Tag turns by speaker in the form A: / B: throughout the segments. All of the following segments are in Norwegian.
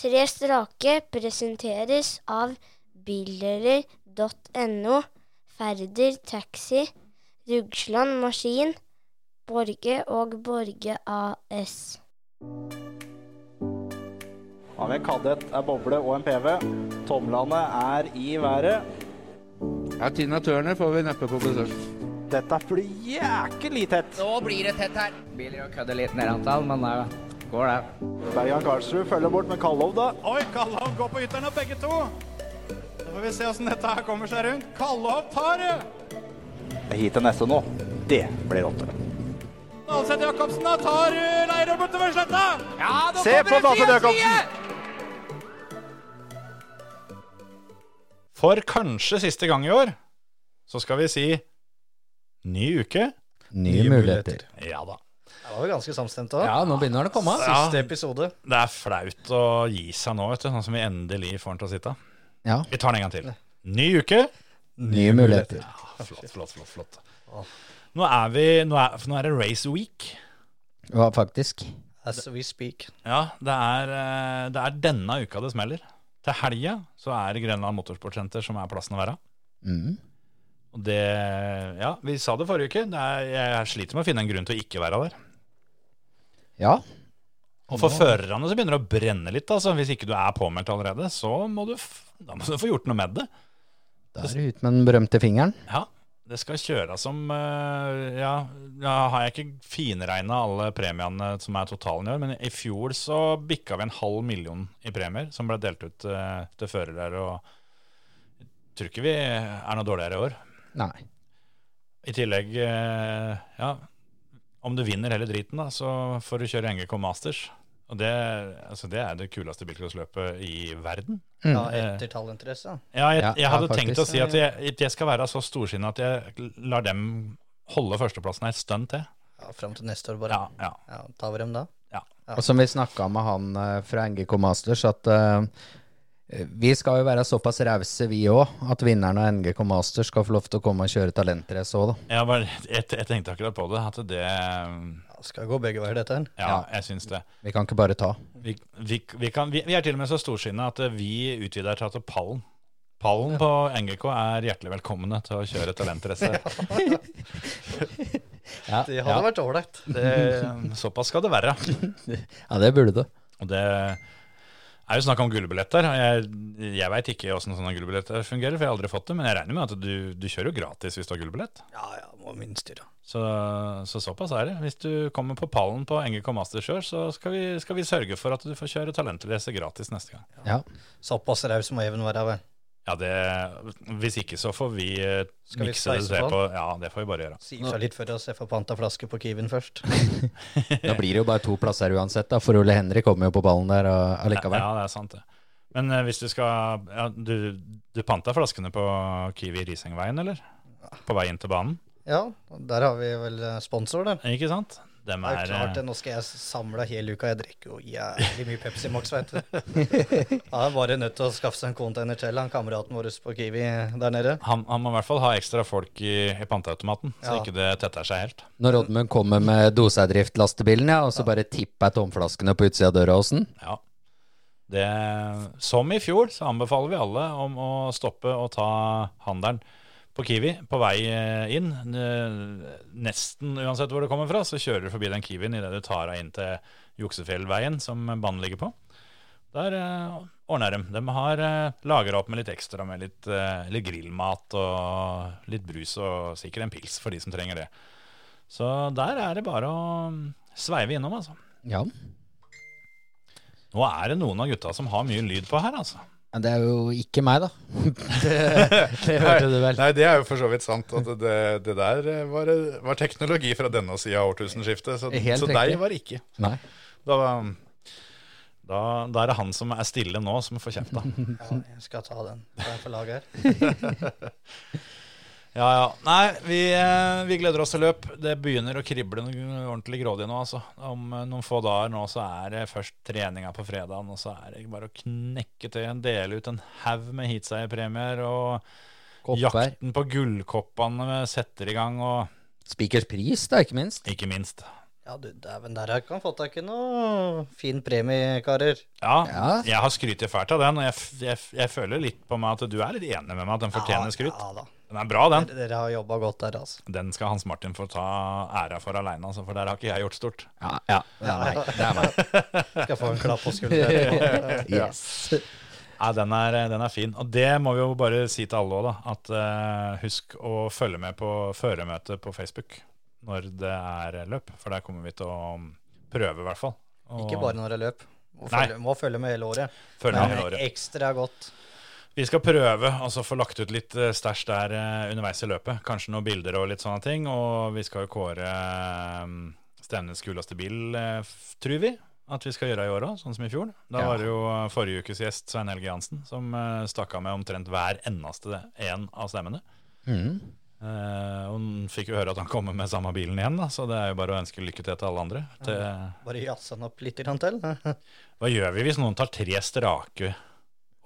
A: Tre strake presenteres av billerer.no, Færder Taxi, Rugsland Maskin, Borge og Borge AS.
B: Har vi en kadett, en boble og en PV. Tomlene er i været.
C: Ja, Tina Turner får vi neppe på besøk.
B: Dette blir jækelig tett.
D: Nå blir det tett her. Biler og kødder litt ned antall, men det går det.
B: Bergan Karlsrud følger bort med Kallov, da.
E: Oi, Kallov går på ytteren og begge to. Da får vi se åssen dette her kommer seg rundt. Kallov tar det!
B: Hit til neste nå. Det blir åtte.
E: Alseth Jacobsen da tar eh, Leirov bortover sletta. Ja, da
B: Se på Alseth Jacobsen.
E: For kanskje siste gang i år, så skal vi si ny uke,
F: Nye muligheter.
E: Ja da.
G: Det var jo ganske samstemt da.
F: Ja, nå begynner det å komme.
E: Ja.
G: Siste episode.
E: Det er flaut å gi seg nå, vet du, sånn som vi endelig får den til å sitte.
F: Ja.
E: Vi tar den en gang til. Ny uke.
F: Nye muligheter.
E: Flott, flott, flott. flott. Nå er, vi, nå, er, for nå er det race week.
F: Ja, faktisk.
G: As we speak.
E: Ja, det er, eh, det er denne uka det smeller. Til helga så er det Grenland Motorsportsenter som er plassen å være.
F: Mm.
E: Og det Ja, vi sa det forrige uke. Det er, jeg sliter med å finne en grunn til å ikke være der.
F: Ja.
E: Og for førerne så begynner det å brenne litt. Altså. Hvis ikke du er påmeldt allerede, så må du, f da må du få gjort noe med det.
F: Da er det ut med den berømte fingeren.
E: Ja, det skal kjøres som eh, Ja, ja har jeg ikke finregna alle premiene som er totalen i år, men i fjor så bikka vi en halv million i premier som ble delt ut eh, til førere og jeg tror ikke vi er noe dårligere i år.
F: Nei.
E: I tillegg, eh, ja Om du vinner hele driten, da, så får du kjøre NGK Masters. Og det, altså det er det kuleste bilcrossløpet i verden.
F: Mm.
G: Ja, etter tallinteresse.
E: Ja, jeg,
F: Ja,
E: jeg hadde
F: ja,
E: tenkt å
F: faktisk.
E: si at jeg, jeg skal være så storsinnet at jeg lar dem holde førsteplassen et stund til.
G: Ja, Fram til neste år, bare.
E: Ja, ja.
G: Ja, tar vi dem da?
F: Og som vi snakka med han eh, fra NGK Masters, at eh, vi skal jo være såpass rause, vi òg, at vinneren av NGK Masters skal få lov til å komme og kjøre talentrace òg, da.
E: Jeg, bare, jeg, jeg tenkte akkurat på det, at det
G: Ja, skal gå begge veier, dette her.
E: Ja, jeg syns det.
F: Vi kan ikke bare ta.
E: Vi, vi, vi, kan, vi, vi er til og med så storsinnet at vi utvider til at pallen Pallen på NGK er hjertelig velkomne til å kjøre talentrace.
G: Det hadde
E: Ja.
G: vært ålreit.
E: Det- Såpass skal det være.
F: Ja, det burde du.
E: Og det er jo snakk om gullbilletter. og Jeg, jeg veit ikke åssen sånne gullbilletter fungerer, for jeg har aldri fått det, men jeg regner med at du, du kjører jo gratis hvis du har gullbillett.
G: Ja, ja, må minst gjøre.
E: Så, så såpass er det. Hvis du kommer på pallen på NGK Masters i år, så skal vi, skal vi sørge for at du får kjøre talentrace gratis neste gang.
F: Ja.
G: Såpass raus må Even være, vel.
E: Ja, det, Hvis ikke så får vi eh,
G: Skal vi
E: mikse det
G: speise
E: tre
G: på?
E: på. Ja, det får vi bare gjøre.
G: Sier seg litt for oss. Jeg får panta flaske på Kiwien først.
F: Da blir det jo bare to plasser uansett, da, for Ole Henrik kommer jo på ballen der og- allikevel.
E: Ja, det er sant, det. Men eh, hvis du skal ja, Du, du panta flaskene på Kiwi Risengveien, eller? På vei inn til banen?
G: Ja, der har vi vel eh, sponsor, der.
E: Ikke sant? Dem
G: Det
E: er,
G: er
E: eh,
G: jo
F: eh,
G: klart det, nå skal jeg samle hele uka. Jeg drikker jo jævlig mye Pepsi Max, vet du. Ja, Jeg er bare nødt til å skaffe seg en container til, han kameraten vår på Kiwi der nede.
E: han, han må i hvert fall ha ekstra folk i, i panteautomaten, så
G: Ja.
E: ikke det tetter seg helt.
F: Når Oddmund kommer med doseidrift-lastebilen, ja, og så bare tipper jeg tomflaskene på utsida av døra åssen.
E: Ja. Det, som i fjor så anbefaler vi alle om å stoppe og ta handelen på Kiwi på vei eh, inn. Eh, Nesten uansett hvor du kommer fra, så kjører du forbi den Kiwien idet du tar deg inn til Juksefjellveien, som banen ligger på. Der eh, ordner de. De har eh, lagra opp med litt ekstra, med litt, eh, litt grillmat og litt brus og sikkert en pils for de som trenger det. Så der er det bare å mm, sveive innom, altså.
F: Ja.
E: Nå er det noen av gutta som har mye lyd på her, altså.
F: Men det er jo ikke meg, da. det, det hørte du vel.
C: Nei, det er jo for så vidt sant. At det, det der eh, var, var teknologi fra denne sida av årtusenskiftet. Så,
F: Helt
C: så
F: riktig.
C: deg var det ikke.
F: Nei.
E: Da, da, da er det han som er stille nå, som får kjeft, da.
G: Ja, jeg skal ta den. Den er for lag her.
E: Ja, ja. Nei, vi, eh, vi gleder oss til løp. Det begynner å krible noe ordentlig grådig nå, altså. Om eh, noen få dager nå så er det først treninga på fredagen, og så er det bare å knekke til, dele ut en haug med heatseierpremier, og
F: Kopper.
E: jakten på gullkoppene setter i gang, og
F: Spikers pris, da, ikke minst.
E: ikke minst
G: Ja, Ja, du dæven, der har kan fått deg ikke noe fin premie, karer.
E: Ja,
F: Ja.
E: jeg har skrytt fælt av den, og jeg, f- jeg, f- jeg føler litt på meg at du er litt enig med meg at den fortjener skryt.
G: Ja, ja da.
E: Den er bra, den.
G: Dere, dere har jobba godt der, altså.
E: Den skal Hans Martin få ta æra for aleine, altså, for der har ikke jeg gjort stort.
F: Ja, ja, det er meg. Det er meg.
G: Skal få en klapp på skulderen.
F: Yes.
E: Nei, den er, den er fin. Og det må vi jo bare si til alle òg, da. At eh, husk å følge med på føremøtet på Facebook når det er løp. For der kommer vi til å prøve, i hvert fall. Og
G: Ikke bare når det er løp. Må
E: Nei.
G: følge, må følge med hele året.
E: følge med hele
G: Men
E: året.
G: ekstra godt.
E: Vi skal prøve altså få lagt ut litt eh, stæsj der eh, underveis i løpet. Kanskje noen bilder og litt sånne ting. Og vi skal jo kåre eh, Stevnes kuleste bil, eh, f- tror vi at vi skal gjøre i år òg, sånn som i fjor. Da
F: Ja.
E: var det jo eh, forrige ukes gjest, Svein Helge Jansen, som eh, stakk av med omtrent hver eneste en av stemmene.
F: Mm.
E: Eh, og hun fikk jo høre at han kommer med samme bilen igjen, da, så det er jo bare å ønske lykke til til alle andre. Til, eh,
G: Bare jazze den opp litt grann til.
E: hva gjør vi hvis noen tar tre strake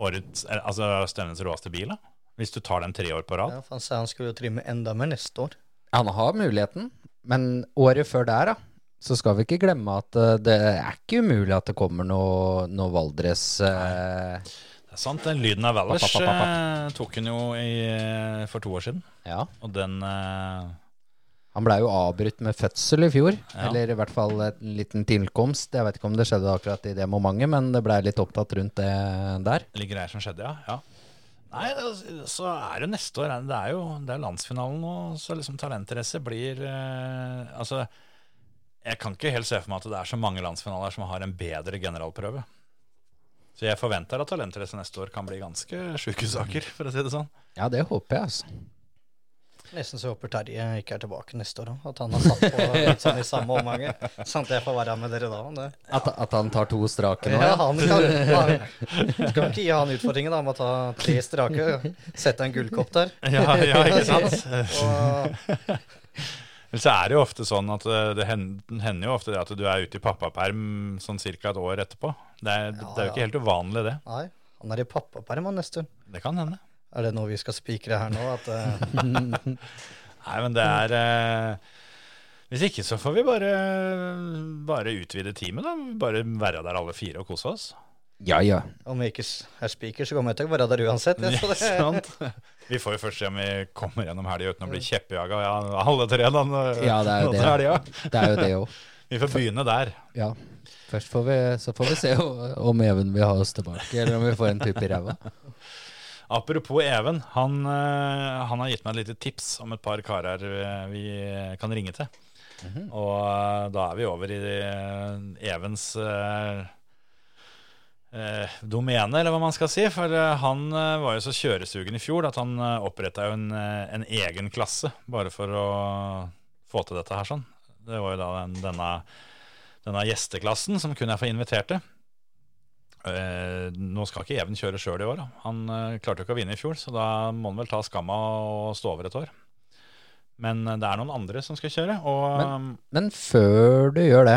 E: årets, eh, altså Stevnes råeste bil? da? Hvis du tar dem tre år på rad?
G: Ja, faen, sa han skulle jo trimme enda mer neste år.
F: Han har muligheten, men året før der, da, så skal vi ikke glemme at eh, det er ikke umulig at det kommer noe, noe Valdres eh,
E: Det er sant, den lyden av Valers
F: Papp, papp, papp,
E: eh, tok hun jo i, eh, for to år siden,
F: Ja.
E: og den eh,
F: Han blei jo avbrutt med fødsel i fjor,
E: Ja.
F: eller i hvert fall en liten tilkomst. Jeg vet ikke om det skjedde akkurat i det momentet, men det blei litt opptatt rundt det der.
E: Eller greier som skjedde, ja. ja. Nei, altså, så er det jo neste år. er Det det er jo det er landsfinalen nå, så liksom talentrace blir eh, Altså, jeg kan ikke helt se for meg at det er så mange landsfinaler som har en bedre generalprøve. Så jeg forventer at talentrace neste år kan bli ganske sjuke saker, for å si det sånn.
F: Ja, det håper jeg, altså.
G: Nesten så jeg håper Terje ikke er tilbake neste år òg. At han har satt på litt sånn i samme omgangen. Sånn at jeg får være med dere da. men Det.
F: At, at han tar to strake nå.
G: Ja,
F: Ja.
G: han kan, han, du kan ikke gi han utfordringen da, med å ta tre strake, sette en gullkopp der.
E: Ja, ja ikke sant?
G: Og,
E: Men så er det jo ofte sånn at eh, det hender, hender jo ofte det at du er ute i pappaperm sånn ca. et år etterpå. Det er, det er jo ikke helt uvanlig, det.
G: nei, han er i pappaperm han, neste år.
E: Det kan hende.
G: Er det noe vi skal spikre her nå? At, eh,
E: Nei, men
F: Mm.
E: det er eh, Hvis ikke så får vi bare, bare utvide teamet, da. Bare være der alle fire og kose oss.
F: ja, ja.
G: om jeg ikke s- er spiker, så kommer jeg til å være der uansett. jeg, så det-
E: Vi får jo først se om vi kommer gjennom helga uten å bli kjeppjaga ja, alle tre. Da, nå-
F: Mm. Ja, det er jo
E: nå
F: det.
E: til helga.
F: Det er jo det òg.
E: Vi får begynne der.
F: Ja. Først får vi, så får vi se o- om Even vil ha oss tilbake, eller om vi får en pupp i ræva.
E: Apropos Even, han, eh, han har gitt meg et lite tips om et par karer eh, vi kan ringe til. Og eh, da er vi over i eh, Evens eh, eh, domene, eller hva man skal si. For eh, han eh, var jo så kjøresugen i fjor at han eh, oppretta jo en, eh, en egen klasse bare for å få til dette her sånn. Det var jo da den, denne, denne gjesteklassen som kun er for inviterte. Eh, nå skal ikke Even kjøre sjøl i år. Da. Han eh, klarte jo ikke å vinne i fjor, så da må han vel ta skamma og stå over et år. Men eh, det er noen andre som skal kjøre, og um,
F: Men før du gjør det,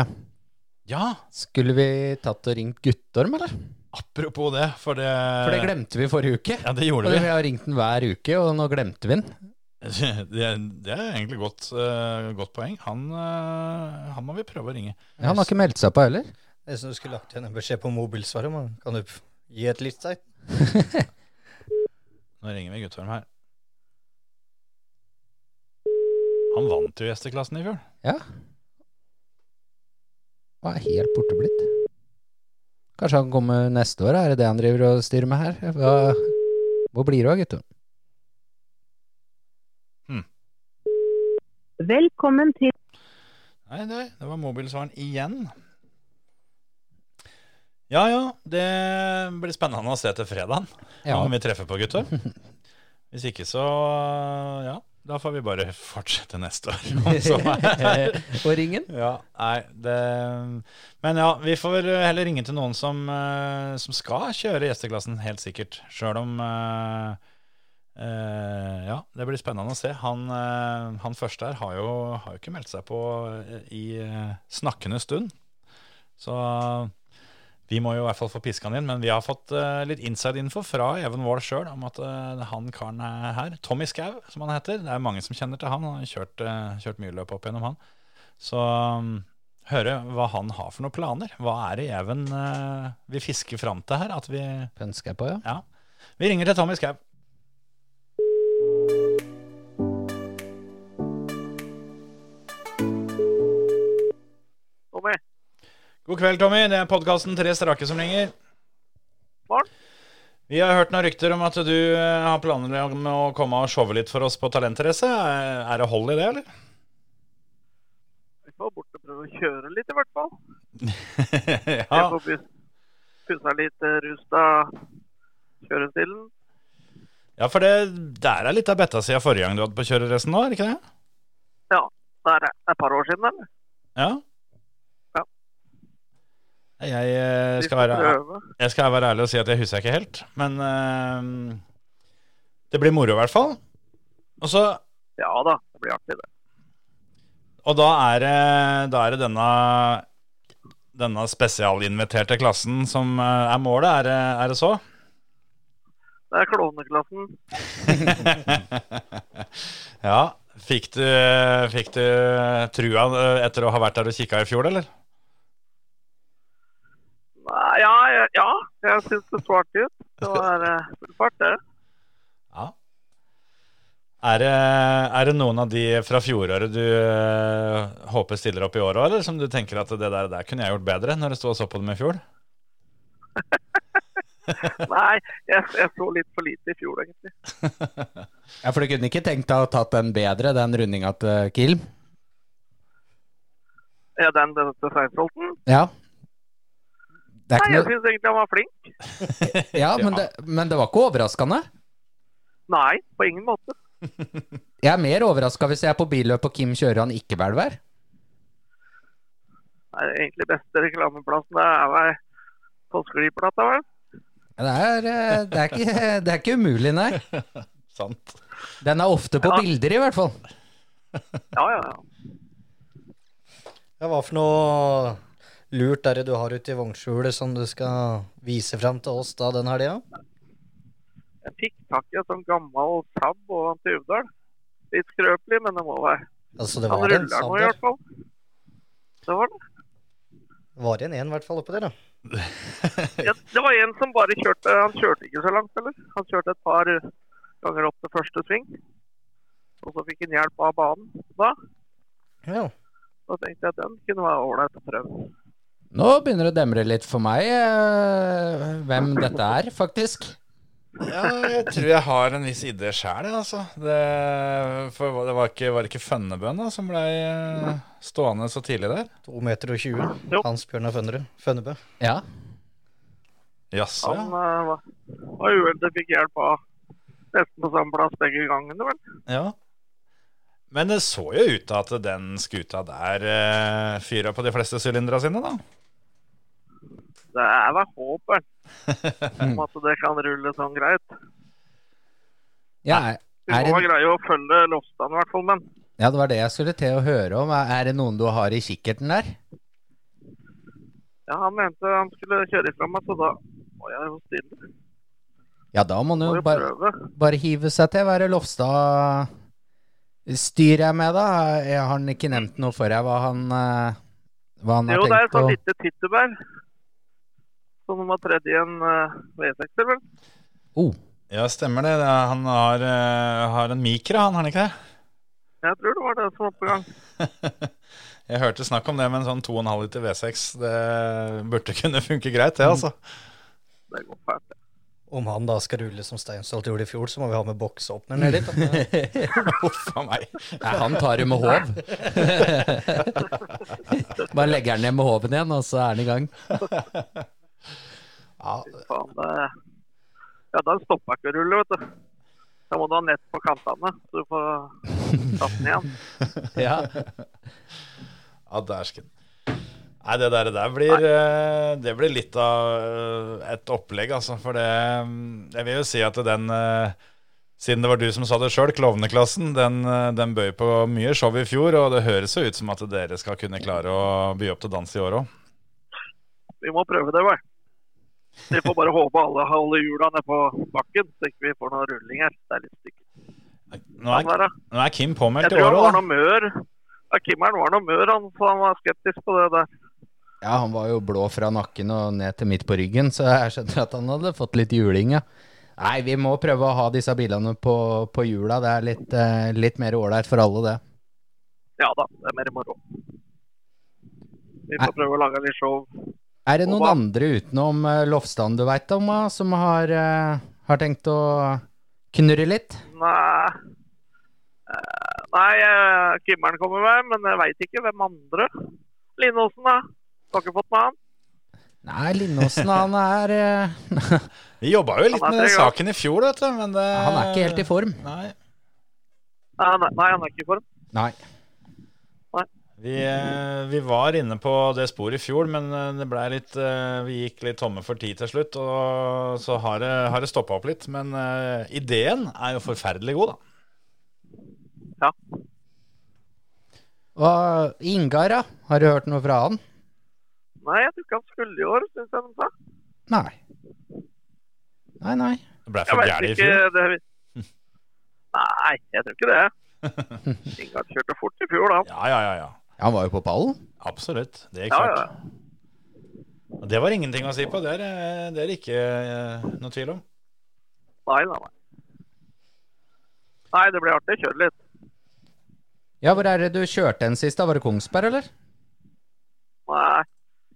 E: Ja,
F: skulle vi tatt og ringt Guttorm, eller?
E: apropos det, for det
F: For det glemte vi forrige uke.
E: Ja, det
F: Og
E: gjorde
F: Eh. vi
E: vi.
F: har ringt den hver uke, og nå glemte vi den.
E: Det, det er egentlig godt, eh, godt poeng. Han, eh, han må vi prøve å ringe.
F: Ja, han har ikke meldt seg på heller.
G: Nesten du skulle lagt igjen en beskjed på mobilsvaret. Man. Kan du p- gi et litt tegn?
E: Nå ringer vi Guttorm her. Han vant jo gjesteklassen i fjor.
F: Ja. Han er helt borte blitt. Kanskje han kommer neste år? Er det det han driver og styrer med her? Hva, hvor blir du av, gutter?
H: Velkommen til
E: Nei, nei, det var mobilsvaren igjen. Ja ja, det blir spennende å se til fredagen.
F: Ja.
E: Om vi treffer på gutter. Hvis ikke så ja, da får vi bare fortsette neste år. om så er.
F: Og ringen?
E: Ja, nei, det Men ja, vi får vel heller ringe til noen som, eh, som skal kjøre gjesteklassen, helt sikkert. Sjøl om eh, eh, Ja, det blir spennende å se. Han, eh, han første her har jo, har jo ikke meldt seg på eh, i eh, snakkende stund. Så vi må jo i hvert fall få piska han inn. Men vi har fått eh, litt inside-info fra Even Wahl sjøl om at eh, han karen er her, Tommy Skau, som han heter, det er mange som kjenner til han. Han har kjørt, eh, kjørt mye løp opp gjennom han. Så um, høre hva han har for noen planer. Hva er det Even eh, vil fiske fram til her? At vi,
F: Pønsker jeg på, ja.
E: ja. vi ringer til Tommy Skau.
H: Tommy.
E: God kveld, Tommy. Det er podkasten Tre strake som ringer.
H: Morgen.
E: Vi har hørt noen rykter om at du eh, har planer om å komme og showe litt for oss på Talentrace. Er er det hold i det, eller?
H: Vi får bort og prøve å kjøre litt, i hvert fall.
E: ja.
H: Jeg får pus- pussa litt eh, rust av kjørestilen.
E: ja, for det der er litt av betta siden forrige gang du hadde på kjøreresten nå, er det ikke det?
H: Ja, det er et par år siden, eller?
E: Ja.
H: Ja.
E: Jeg, eh,
H: Vi
E: skal
H: får
E: være,
H: prøve.
E: jeg skal være ærlig og si at jeg husker ikke helt, men eh, det blir moro i hvert fall. Og så
H: Ja da, det blir artig, det.
E: Og da er det, da er det denne, denne spesialinviterte klassen som eh, er målet, er, det- er det så?
H: Det er klovneklassen.
E: ja. Fikk du, fikk du trua eh, etter å ha vært der og kikka i fjor, eller?
H: Nei, ja, ja, ja, jeg syns det så artig ut. Det var eh, full fart, det.
E: Ja. Er det, er det noen av de fra fjoråret du eh, håper stiller opp i år òg, eller som du tenker at det der, der kunne jeg gjort bedre, når jeg sto og så på dem i fjor?
H: Nei, jeg, jeg så litt for lite i fjor, egentlig.
F: ja. For du kunne ikke tenkt deg å ha tatt den bedre, den rundinga til Kilm?
H: Ja, den, den til Seinfolden?
F: Ja. Det er
H: Nei,
F: ikke
H: jeg
F: noe,
H: syns egentlig han var flink.
F: ja, men det, men det var ikke overraskende.
H: Nei, på ingen måte.
F: Jeg er mer overraska hvis jeg er på billøp og Kim kjører han ikke Belvær.
H: Nei, egentlig beste reklameplassen det er vel på skliplata, vel.
F: Det er, eh, det, er ikke, det er ikke umulig, nei.
E: Sant.
F: Den er ofte på
H: Ja.
F: bilder, i hvert fall.
H: Ja, ja, ja.
G: Ja, hva for noe lurt er det du har ute i vognskjulet som du skal vise fram til oss da den helga?
H: Jeg fikk tak i en sånn gammel Saab ovan til Uvdal. Litt skrøpelig, men det må være.
G: Altså, det
H: Han
G: var en
H: ruller nå i
G: sander.
H: hvert fall. Det var det.
G: Var en en i hvert fall oppi der, da.
H: Ja, det var en som bare kjørte Han kjørte ikke så langt, eller? Han kjørte et par ganger opp til første sving. Og så fikk han hjelp av banen da.
G: Ja.
H: Da tenkte jeg at den kunne være ålreit å prøve.
F: Nå begynner det å demre litt for meg eh, hvem dette er, faktisk.
E: Ja, jeg tror jeg har en viss idé sjæl, jeg, altså. Det, for det var ikke, var det ikke Fønnebøna som blei eh, stående så tidlig der?
G: 2 meter og 20.
H: Jo.
G: Hans Bjørnar Fønnerud. Fønnebø.
F: Ja.
E: Jaså,
H: Han eh, var- var uheldig, fikk hjelp av nesten på samme plass begge gangene, vel.
E: ja. Men det så jo ut til at den skuta der eh, fyra på de fleste sylindera sine, da.
H: Det er vel håp, vel. Om at det kan rulle sånn greit.
F: Ja, er,
H: Vi må
F: er det,
H: vel greie å følge lovstanden, i hvert fall. Men
F: ja, det var det jeg skulle til å høre om. Er- Er det noen du har i kikkerten der?
H: ja, han mente han skulle kjøre ifra meg, så da må jeg jo stille.
F: Ja, da må
H: Må
F: du
H: jo
F: bare,
H: prøve.
F: bare hive seg til. Hva er det Lofstad styrer jeg med, da? Jeg har han ikke nevnt noe for deg hva han, eh, hva han har
H: Jo, det er et
F: tenkt å
H: sånt lite tyttebær. Som nummer tredje i en eh, V6, vel.
F: oh,
E: Ja, stemmer det. Det er- Han har, eh, har en mikra, han, har han ikke det?
H: Jeg tror det var det som var på gang.
E: Jeg hørte snakk om det med en sånn 2,5 liter V6. Det burde kunne funke greit, det, altså.
H: Det går fælt. det.
G: Om han da skal rulle som Steinsholt gjorde i fjor, så må vi ha med boksåpner ned dit. da.
E: Huff a meg.
F: Nei, han tar det med håv. Bare legger han ned med håven igjen, og så er han i gang.
H: Faen, det... Ja, den stoppa ikke å rulle, vet du. Da må du ha nett på kantene, så du får tatt den igjen.
F: Ja.
E: Ja, dæsken. Nei, det der, det der blir, eh, det blir litt av eh, et opplegg, altså. For det mm, Jeg vil jo si at den eh, Siden det var du som sa det sjøl, Klovneklassen, den, eh, den bøy på mye show i fjor. Og det høres jo ut som at dere skal kunne klare å by opp til dans i år òg.
H: Vi må prøve det, vel. Vi får bare håpe alle holder hjula nede på bakken, så ikke vi får noen rulling her. Det er litt stygt.
E: Nå, er-
H: Kan være.
E: nå er Kim
H: Jeg
E: påmeldt i år
H: tror han
E: òg, da.
H: var noe mør. Ja, Kimmeren var noe mør, han, så han var skeptisk på det der.
F: Ja, han var jo blå fra nakken og ned til midt på ryggen, så jeg skjønner at han hadde fått litt juling, ja. Nei, vi må prøve å ha disse bilene på, på hjula. Det er litt, eh, litt mer ålreit for alle, det.
H: Ja da, det er mer moro. Vi får prøve å lage litt show.
F: Er det
H: Og
F: noen
H: hva-
F: andre utenom eh, Lofstad du veit om, da, som har, eh, har tenkt å knurre litt?
H: Nei, Eh, nei eh, Kimmeren kommer med, men jeg veit ikke hvem andre. Linåsen, da? Har ikke fått med han?
F: Nei, Lindåsen, han er eh,
E: Vi jobba jo litt
H: Han er
E: med den
H: tre ganger.
E: saken i fjor, vet du, men det
F: Han er ikke helt i form.
E: Nei.
H: Nei, nei, nei, han er ikke i form.
F: Nei.
E: Vi, eh, vi var inne på det sporet i fjor, men eh, det ble litt, eh, vi gikk litt tomme for tid til slutt. Og så har det, har det stoppa opp litt. Men eh, ideen er jo forferdelig god, da.
F: Og Ingar, da? Har du hørt noe fra han?
H: Nei, jeg tror ikke han skulle i år, syns jeg de sa.
F: Nei. Nei, nei.
E: Det ble
H: Jeg
E: for
H: vet
E: gærent i
H: ikke
E: fjor.
H: det Nei, jeg tror ikke det. Ingard kjørte fort i fjor, da.
E: Ja, ja, ja, ja.
F: Han var jo på pallen.
E: Absolutt. Det gikk
H: Ja,
E: fort.
H: ja.
E: Og Det var ingenting å si på. Det er eh, det er ikke eh, noe tvil om.
H: Nei, nei, nei. Nei, det blir artig å kjøre litt.
F: Ja, hvor er det du kjørte den sist? da? Var det Kongsberg, eller?
H: Nei,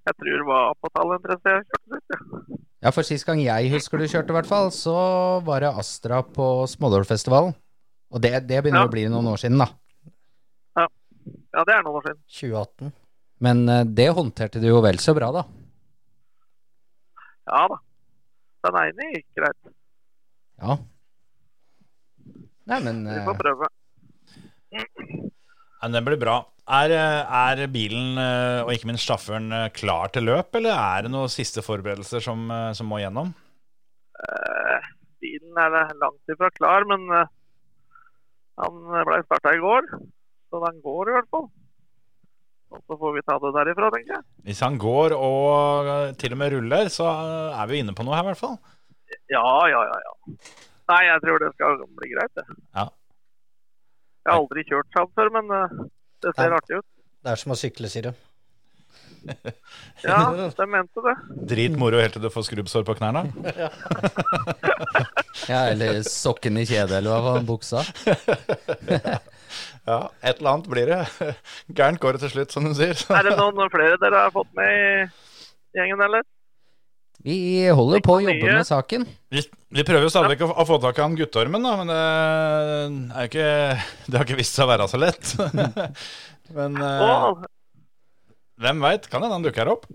H: jeg tror det var på talentrest jeg kjørte litt. ja.
F: Ja, for sist gang jeg husker du kjørte, i hvert fall, så var det Astra på Smådålfestivalen. Og det, det begynner
H: Ja.
F: å bli noen år siden, da.
H: Ja, det er noen år siden.
G: 2018.
F: Men eh, det håndterte du jo vel så bra, da.
H: Ja da. Den ene gikk greit.
F: Ja. Nei, men
H: Vi
F: eh,
H: får prøve.
E: Men det blir bra. Er, eh, er bilen eh, og ikke minst sjåføren eh, klar til løp, eller er det noen siste forberedelser som, eh, som må gjennom?
H: Eh, bilen er langt ifra klar, men eh, han ble starta i går. Så den går i hvert fall. Og så får vi ta det derifra, tenker jeg.
E: Hvis han går og eh, til og med ruller, så eh, er vi jo inne på noe her, i hvert fall.
H: Ja, ja, ja. ja. Nei, jeg tror det skal bli greit, det.
E: Ja.
H: Jeg har aldri kjørt sånn før, men eh, det ser
G: Ja.
H: artig ut.
G: Det er som å sykle, sier de.
H: Ja, de mente det.
E: Drit moro helt til du får skrubbsår på knærne.
F: Ja, eller sokken i kjedet, eller hva var buksa?
E: Ja, et eller annet blir det. Gærent går det til slutt, som du sier.
H: Er det noen flere dere har fått med i gjengen, eller?
F: Vi holder på å jobbe
H: mye.
F: med saken.
E: Vi, vi prøver jo stadig vekk å, å få tak i han guttormen, da, men det, er jo ikke, det har ikke vist seg å være så lett. men eh,
H: Å,
E: hvem veit? Kan hende han dukker opp.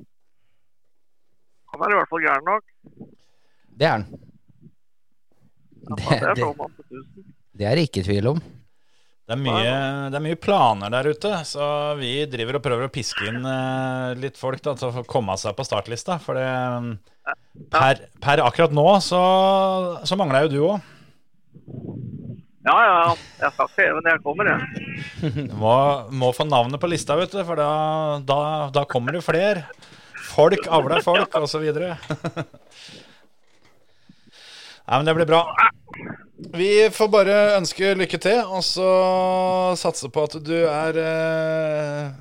H: han er i hvert fall gæren nok.
F: Det er den.
H: Ja,
F: Det,
H: det er
F: det,
H: sånn til tusen.
F: det er det ikke tvil om.
E: Det er, mye, det er mye planer der ute, så vi driver og prøver å piske inn eh, litt folk da, til å få komme seg på startlista. For det, eh, per, per akkurat nå så, så mangler jo du òg.
H: Ja, ja. Jeg skal ikke heve når jeg kommer, jeg.
E: Må, må få navnet på lista, vet du, for da, da, da kommer det flere. Folk avler folk, osv. Nei, men det blir bra.
C: Vi får bare ønske lykke til, og så
E: satse på at du er eh,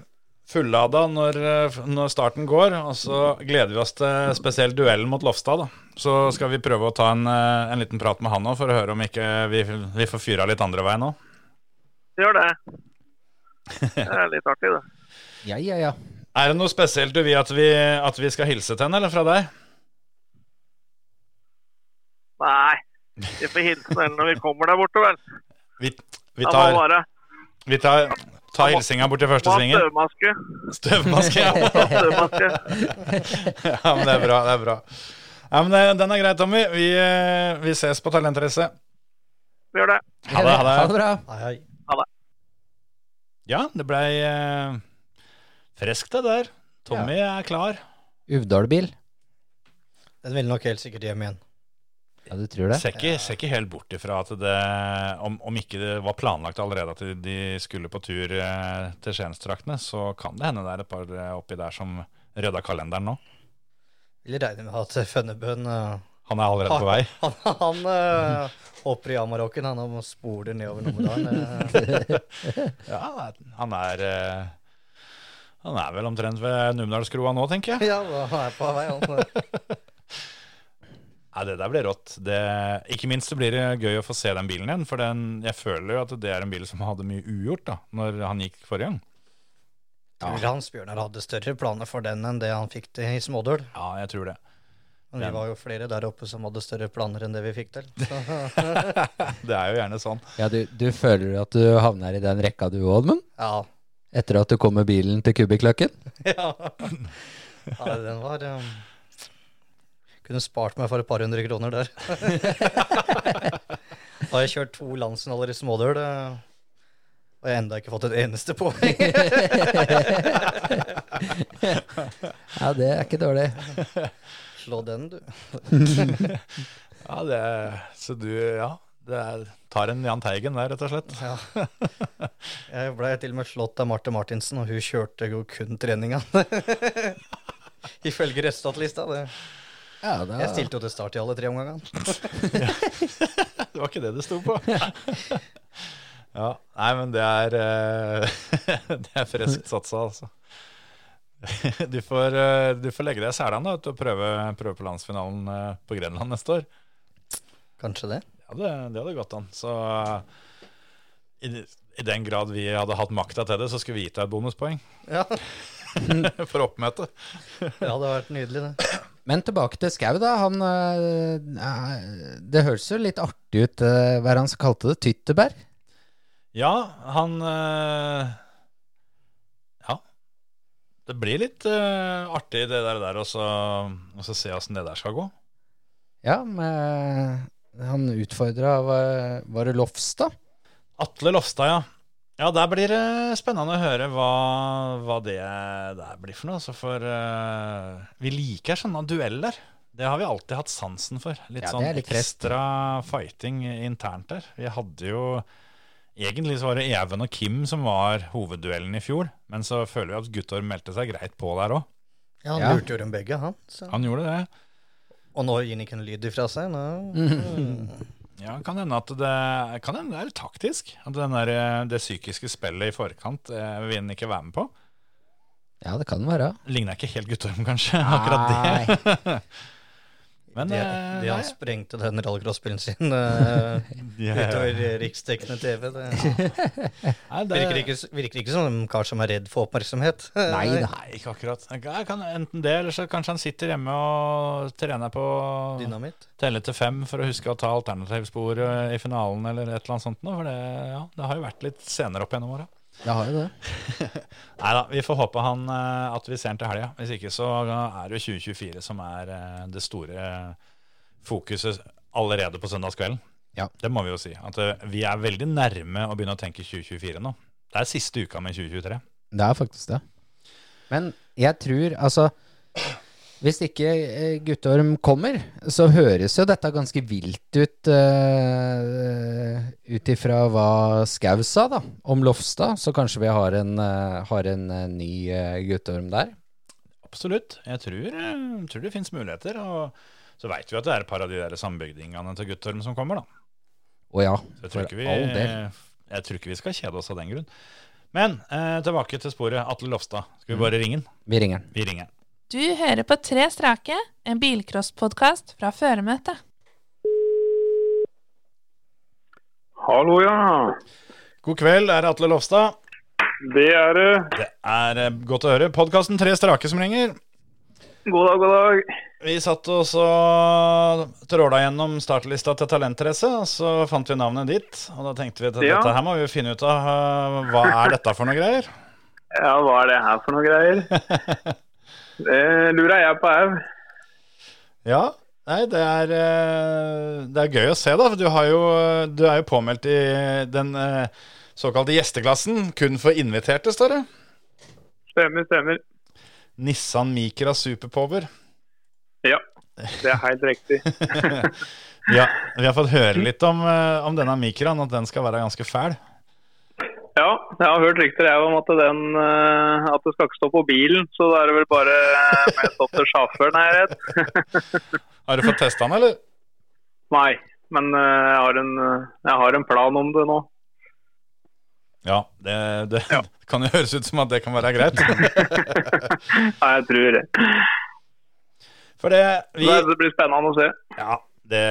E: fullada når, eh, når starten går. Og så gleder vi oss til spesielt duellen mot Lofstad. Da. Så skal vi prøve å ta en, eh, en liten prat med han òg, for å høre om ikke vi, vi får fyra litt andre veien òg.
H: Gjør det. Det er litt artig, det.
F: Ja, ja, ja.
E: Er det noe spesielt du vil at vi, at vi skal hilse til henne, eller fra deg?
H: Nei, vi får hilse henne når vi kommer der borte, vel.
E: Vi, vi
H: Da må
E: tar,
H: bare
E: vi tar, tar hilsinga bort til
H: må
E: første
H: ha
E: svingen.
H: støvmaske.
E: Støvmaske, ja.
H: støvmaske.
E: ja. Men det er bra. det er bra. Ja, men eh, Den er grei, Tommy. Vi, eh, vi ses på Talentrace.
H: Vi gjør det.
E: Ha det. Ha det.
F: Ha det bra.
G: Hei, hei.
E: Ja, det blei eh, friskt det der. Tommy er klar.
F: Uvdalbil.
G: Den vil nok helt sikkert hjem igjen.
F: Ja, du tror det?
E: Ser ikke, ser ikke helt bort ifra at det om, om ikke det var planlagt allerede at de skulle på tur eh, til Skiensdraktene, så kan det hende det er et par eh, oppi der som rydda kalenderen nå.
G: Vil regne med at Fønnebøen eh,
E: Han er allerede på vei.
G: Han, han eh, hopper i Amarokken, han og spoler nedover Numedalen. eh.
E: Ja, han er eh, Han er vel omtrent ved Numedalskroa nå, tenker jeg.
G: ja, han er på vei, han. eh.
E: Nei, det der blir rått. Det, ikke minst så blir det gøy å få se den bilen igjen. For den, jeg føler jo at det er en bil som hadde mye ugjort da Når han gikk forrige gang.
G: Tror Hans Bjørnar hadde større planer for den enn det han fikk til i Smådøl.
E: Ja, jeg tror det.
G: Men vi
E: Den-
G: var jo flere der oppe som hadde større planer enn det vi fikk til. Så,
E: Det er jo gjerne sånn.
F: Ja, du, du føler at du havner i den rekka du òg, Oddmund?
G: ja.
F: Etter at du kom med bilen til Kubikkløkken?
G: ja. Nei, den var um, Kunne spart meg for et par hundre kroner der. da har jeg kjørt to landsfinaler i Smådøl, eh, og jeg har enda ikke fått et eneste poeng.
F: Ja, det er ikke dårlig.
G: Slå den, du.
E: Ja, det, Så du, ja. Det er, tar en Jahn Teigen der, rett og slett.
G: Ja. Jeg ble til og med slått av Marte Martinsen, og hun kjørte jo kun treninga. Ifølge resultatlista. Det.
F: Ja, da,
G: Jeg stilte jo til start i alle tre omgangene.
E: Det var ikke det det sto på. Ja, Nei, men det er eh, Det er friskt satsa, altså. Du får, eh, du får legge deg i selene da, vet du, og prøve, prøve på landsfinalen eh, på Grenland neste år.
G: Kanskje det.
E: Ja, det, det hadde gått an. Så eh, i, i den grad vi hadde hatt makta til det, så skulle vi gitt deg et bonuspoeng
G: Ja,
E: for oppmøtet.
G: det hadde vært nydelig, det.
F: Men tilbake til Skau, da. Han øh, eh, Det høres jo litt artig ut, øh, hva er det han som kalte det? Tyttebær?
E: Ja, han eh, Ja. Det blir litt eh, artig det der, der og så og så se åssen det der skal gå.
F: Ja, men han utfordra var, var det Lofstad?
E: Atle Lofstad, ja. Ja, der blir det spennende å høre hva, hva det der blir for noe. Så for eh, Vi liker sånne dueller. Det har vi alltid hatt sansen for. Litt
F: Ja,
E: sånn
F: det er litt fest.
E: ekstra fighting internt der. Vi hadde jo Egentlig så var det Even og Kim som var hovedduellen i fjor. Men så føler vi at Guttorm meldte seg greit på der òg.
G: Ja, han
F: Ja.
G: lurte jo dem begge, han. Så.
E: Han gjorde det.
G: Og nå gir han ikke en lyd ifra seg. Nå.
E: Ja, kan hende at det, kan hende det er litt taktisk. At den der, eh, det psykiske spillet i forkant eh, vil han ikke være med på.
F: Ja, det kan være.
E: Ligner ikke helt Guttorm, kanskje, akkurat det. Men
G: Det,
E: eh,
G: det han
E: nei,
G: sprengte den rallcrossbilen sin eh,
E: det-
G: utover riksdekkende TV. Det
E: nei, det-
G: virker ikke, virker ikke som en kar som er redd for oppmerksomhet.
E: Nei, ikke akkurat. Jeg kan enten det, eller så kanskje han sitter hjemme og trener på å
G: Dynamitt.
E: telle til fem for å huske å ta alternativspor eh, i finalen, eller et eller annet sånt. nå, For det, ja, det har jo vært litt senere opp gjennom åra.
F: Det har jo det.
E: Nei da, vi får håpe han, eh, at vi ser han til helga. Hvis ikke så eh, er det jo 2024 som er eh, det store fokuset allerede på søndagskvelden.
F: Ja.
E: Det må vi jo si. At eh, vi er veldig nærme å begynne å tenke 2024 nå. Det er siste uka med 2023.
F: Det er faktisk det. Men jeg tror, altså Hvis ikke eh, Guttorm kommer, så høres jo dette ganske vilt ut uh, ut ifra hva Skau sa, da, om Lofstad. Så kanskje vi har en, eh, har en eh, ny eh, Guttorm der.
E: Absolutt. Jeg tror, eh, tror det fins muligheter. Og så veit vi at det er et par av de der sambygdingene til Guttorm som kommer, da.
F: Å ja,
E: Så jeg
F: for
E: tror, ikke vi,
F: all del.
E: jeg tror ikke vi skal kjede oss av den grunn. Men eh, tilbake til sporet. Atle Lofstad, skal vi bare ringe han?
F: Vi ringer den.
E: Vi ringer han.
I: Du hører på Tre strake, en bilcrosspodkast fra føremøtet.
H: Hallo, ja.
E: God kveld, det er Atle Lofstad.
H: Det er det.
E: Det er eh, godt å høre. Podkasten Tre strake som ringer.
H: God dag, god dag.
E: Vi satt og så tråla gjennom startlista til Talentrace, og så fant vi navnet ditt. Og da tenkte vi at
H: Ja.
E: dette her må vi jo finne ut av. eh, Hva er dette for noe greier?
H: Ja, hva er det her for noe greier? Det lurer jeg på òg.
E: Ja, nei, det er, eh, det er gøy å se, da. For du, har jo, du er jo påmeldt i den eh, såkalte gjesteklassen. Kun for inviterte, står det.
H: Stemmer, stemmer.
E: Nissan Micra Superpower.
H: Ja, det er helt riktig.
E: Ja, vi har fått høre litt om, eh, om denne Micraen, at den skal være ganske fæl.
H: Ja, jeg har hørt rykter jeg om at, den, eh, at det skal ikke stå på bilen, så da er det vel bare eh, mest opp til sjåføren, er jeg redd.
C: Har du fått testa den, eller?
H: Nei, men eh, jeg har, en, eh, jeg har en plan om det nå.
E: Ja, det, det kan jo høres ut som at det kan være greit.
H: Nei, jeg tror det.
E: For det, vi,
H: Det det blir spennende å se.
E: ja, det,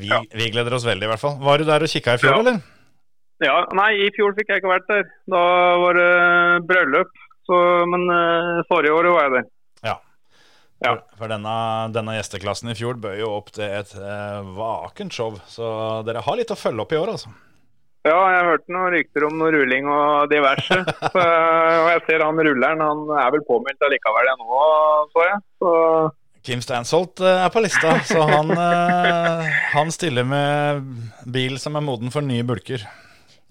E: vi, vi gleder oss veldig, i hvert fall. Var du der og kikka i fjor,
H: Ja.
E: eller?
H: Ja, nei, i fjor fikk jeg ikke vært der. Da var det bryllup. Så, men eh, forrige året var jeg der. Ja.
E: For, for denne, denne gjesteklassen i fjor bød jo opp til et eh, vakent show, så dere har litt å følge opp i år, altså.
H: Ja, jeg hørte noen rykter om noe rulling og diverse. Så, eh, og jeg ser han rulleren, han er vel påmeldt allikevel jeg nå, så jeg. Så
E: Kim Stansholt eh, er på lista, så han, eh, han stiller med bil som er moden for nye bulker.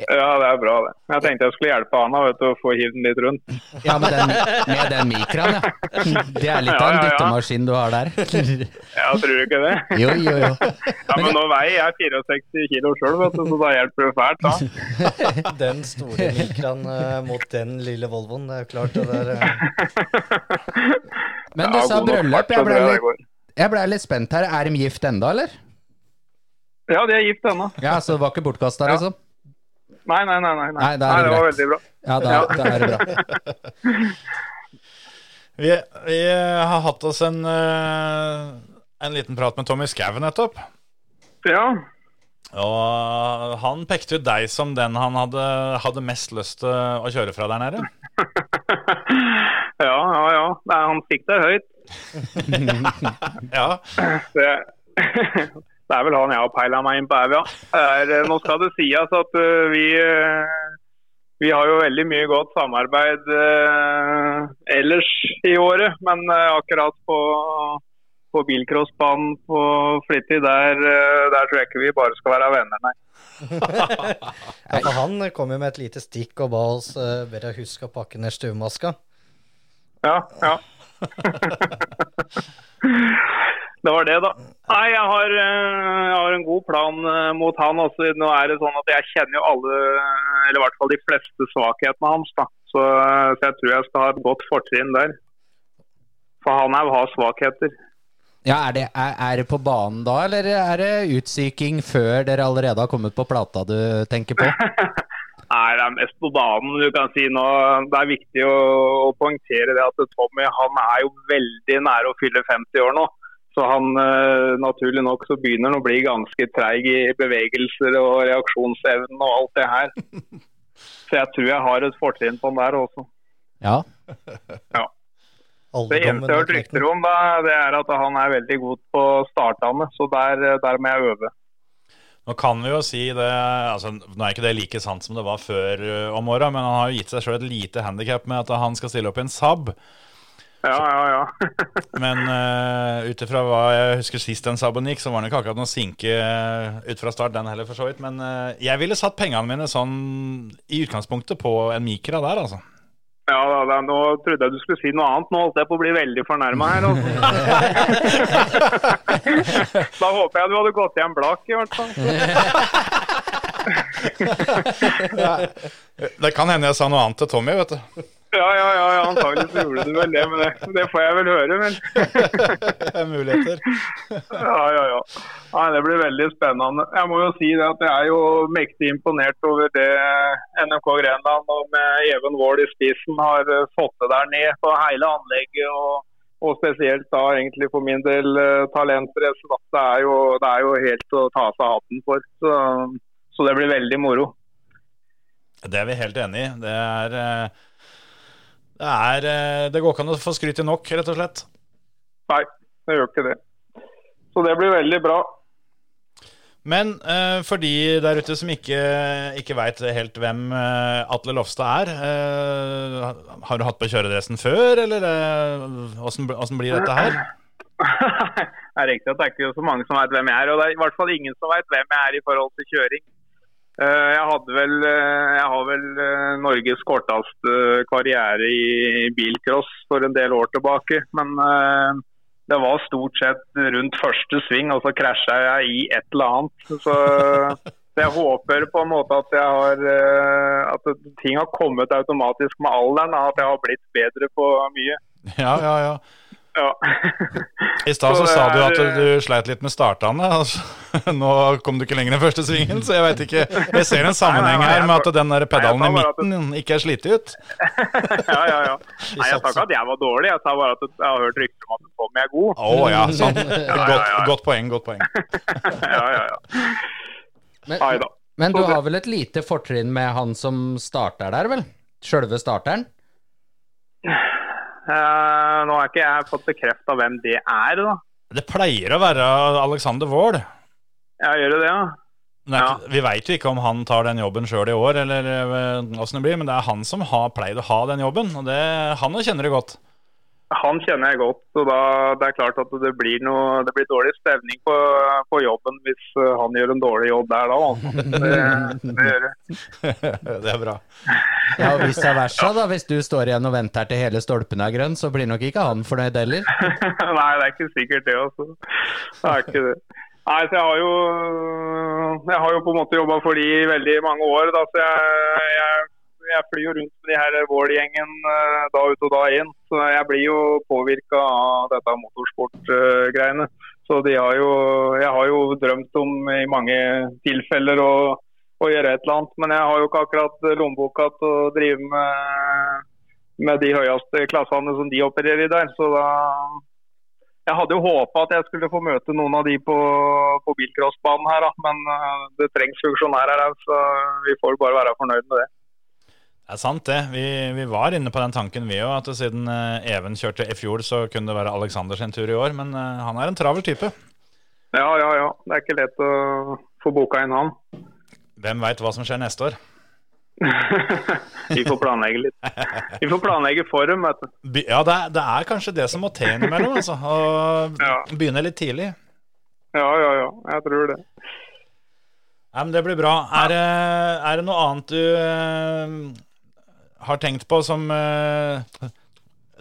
H: ja, det er bra det. Jeg tenkte jeg skulle hjelpe Anna vet du, å få hivd den litt rundt.
F: Ja, med den, med den mikroen, ja. Det er litt av en
H: Ja, ja, ja.
F: dyttemaskin du har der.
H: Jeg tror ikke det.
F: Jo, jo, jo.
H: Ja, Men nå veier jeg 64 kilo sjøl, så da hjelper det fælt. da.
G: Den store mikroen eh, mot den lille Volvoen, det er jo klart det der. eh.
F: Men du
H: Jeg har
F: sa
H: god nok fart,
F: bryllup.
H: så
F: Jeg ble
H: det
F: litt,
H: går.
F: jeg ble litt spent her. Er de gift enda, eller?
H: Ja, de er gift ennå.
F: Ja, så det var ikke bortkasta,
H: Ja.
F: liksom?
H: Nei, nei, nei. nei, nei.
F: Nei, da
H: nei
F: er det
H: det var
F: greit.
H: veldig bra.
F: Ja, da, da er det bra.
E: Vi, vi har hatt oss en, eh, en liten prat med Tommy Skau nettopp.
H: Ja,
E: Og han pekte ut deg som den han hadde, hadde mest lyst til å kjøre fra der nede.
H: ja, ja. ja. Nei, han sikter høyt.
E: Ja,
H: Det, det er vel han jeg har peila meg inn på her, ja. Det Er, eh, nå skal det sies at eh, vi eh, vi har jo veldig mye godt samarbeid eh, ellers i året, men eh, akkurat på, på bilcrossbanen på Flittig, der, eh, der tror jeg ikke vi bare skal være venner, nei.
G: Ja, for han kom jo med et lite stikk og ba oss eh, bedre huske å pakke ned stuemaska.
H: Ja, ja. det var det, da. Nei, jeg har, eh, jeg har en god plan eh, mot han. Altså, nå er det sånn at jeg kjenner jo alle, eller i hvert fall de fleste svakhetene hans. da. Så, eh, så jeg tror jeg skal ha et godt fortrinn der. For han er, har svakheter.
F: Ja, er det, er, er det på banen da, eller er det utsyking før dere allerede har kommet på plata du tenker på?
H: Nei, det er mest på banen. du kan si nå. Det er viktig å, å poengtere det at Tommy han er jo veldig nære å fylle 50 år nå. Så han eh, naturlig nok så begynner han å bli ganske treig i bevegelser og reaksjonsevnen og alt det her. Så jeg tror jeg har et fortrinn på han der også.
F: Ja.
H: Det eneste jeg har hørt rykter om, da, det er at han er veldig god på startene. Så der, eh, der må jeg øve.
E: Nå kan vi jo si det altså, Nå er ikke det like sant som det var før ø, om åra, men han har jo gitt seg sjøl et lite handikap med at han skal stille opp i en Saab.
H: Ja, ja, ja.
E: Men uh, ut ifra hva jeg husker sist den Saaben gikk, så var den ikke akkurat noe sinke ø, ut fra start, den heller, for så vidt. Men ø, jeg ville satt pengene mine sånn i utgangspunktet på en Micra der, altså.
H: Ja, da, da, Nå trodde jeg du skulle si noe annet. Nå holdt jeg på å bli veldig fornærma her. Altså. da håper jeg du hadde gått hjem blakk, i hvert fall.
E: Det kan hende jeg sa noe annet til Tommy, vet du.
H: Ja, ja, ja, ja antagelig så gjorde du vel det, men det, det får jeg vel høre, vel.
E: Det er muligheter.
H: Ja, ja, ja. Nei, det blir veldig spennende. Jeg må jo si det at jeg er jo mektig imponert over det NMK Grenland og med Even Wold i spissen har eh, fått det der ned på hele anlegget. og og spesielt da egentlig for min del eh, talentpress. da. Det er, jo, det er jo helt å ta av seg hatten for. Så, så det blir veldig moro.
E: Det er vi helt enig i. Det er ø, det, er, ø, det går ikke an å få skryt i nok, rett og slett.
H: Nei, det gjør ikke det. Så det blir veldig bra.
E: Men eh, for de der ute som ikke, ikke veit helt hvem eh, Atle Lofstad er eh, Har du hatt på kjøredressen før, eller eh, åssen blir dette her?
H: det er riktig at det er ikke så mange som vet hvem jeg er, og det er i hvert fall ingen som vet hvem jeg er i forhold til kjøring. Eh, Jeg, hadde vel, eh, jeg har vel eh, Norges korteste eh, karriere i bilcross for en del år tilbake, men eh, det var stort sett rundt første sving, og så krasja jeg i et eller annet. Så Så jeg håper på en måte at, jeg har, eh, at ting har kommet automatisk med alderen. da, At jeg har blitt bedre på mye.
E: Ja, ja, ja.
H: Ja.
E: I stad så
H: Så det
E: sa du
H: er, eh,
E: at du sleit litt med startene. Altså. Nå kom du ikke lenger den første svingen, så jeg veit ikke. Jeg ser en sammenheng
H: Nei, nei, nei,
E: her med
H: jeg-
E: at den der pedalen
H: Nei,
E: i
H: jeg sa bare at-
E: midten ikke er slitt ut.
H: ja, ja, ja. Nei, jeg sa ikke at jeg var dårlig, jeg sa bare at jeg har hørt rykter om at Tommy er god.
E: Å ja, sant. Godt, godt poeng, godt poeng.
H: ja, ja, ja.
F: Men,
H: Nei da.
F: men du har vel et lite fortrinn med han som starter der, vel? Sjølve starteren?
H: Eh, nå har ikke jeg fått bekrefta hvem det er, da.
E: Det pleier å være Alexander Wold.
H: Jeg gjør jo det, ja.
E: Det er ikke- Vi veit jo ikke om han tar den jobben sjøl i år, eller åssen det blir, men det er han som har pleid å ha den jobben, og det, han jo kjenner det godt.
H: Han kjenner jeg godt, så da, det er klart at det blir, noe, det blir dårlig stemning på, på jobben hvis eh, han gjør en dårlig jobb der da. altså. Det, det gjør det.
E: det er bra.
F: Ja, og vice versa, da. Hvis du står igjen og venter til hele stolpen er grønn, så blir nok ikke han fornøyd heller.
H: Nei, det er ikke sikkert det, altså. Det er ikke det. Nei, så jeg har jo, jeg har jo på en måte jobba for de i veldig mange år. Da, så jeg, jeg, jeg flyr jo rundt med de her Vål-gjengen eh, da ut og da inn. Så jeg blir jo påvirka av dette motorsportgreiene. Så de har jo, jeg har jo drømt om i mange tilfeller å, å gjøre et eller annet. Men jeg har jo ikke akkurat lommeboka til å drive med, med de høyeste klassene som de opererer i der. Så da jeg hadde jo håpa at jeg skulle få møte noen av de på, på bilcrossbanen her, da. men eh, det trengs funksjonærer her, så vi får bare være fornøyd med det.
E: Det er sant, det. Vi, vi var inne på den tanken, vi òg, at siden eh, Even kjørte i fjor, så kunne det være Alexander sin tur i år, men eh, han er en travel type.
H: Ja, ja, ja. Det er ikke lett å få boka inn han.
E: Hvem veit hva som skjer neste år?
H: vi får planlegge litt. Vi får planlegge for dem, vet du.
E: Be- Ja, det er, det er kanskje det som må til innimellom, altså.
H: Ja.
E: Å begynne litt tidlig.
H: Ja, ja, ja. Jeg tror det.
E: Nei, men det blir bra. Er, det- er det noe annet du eh, har tenkt på som, eh,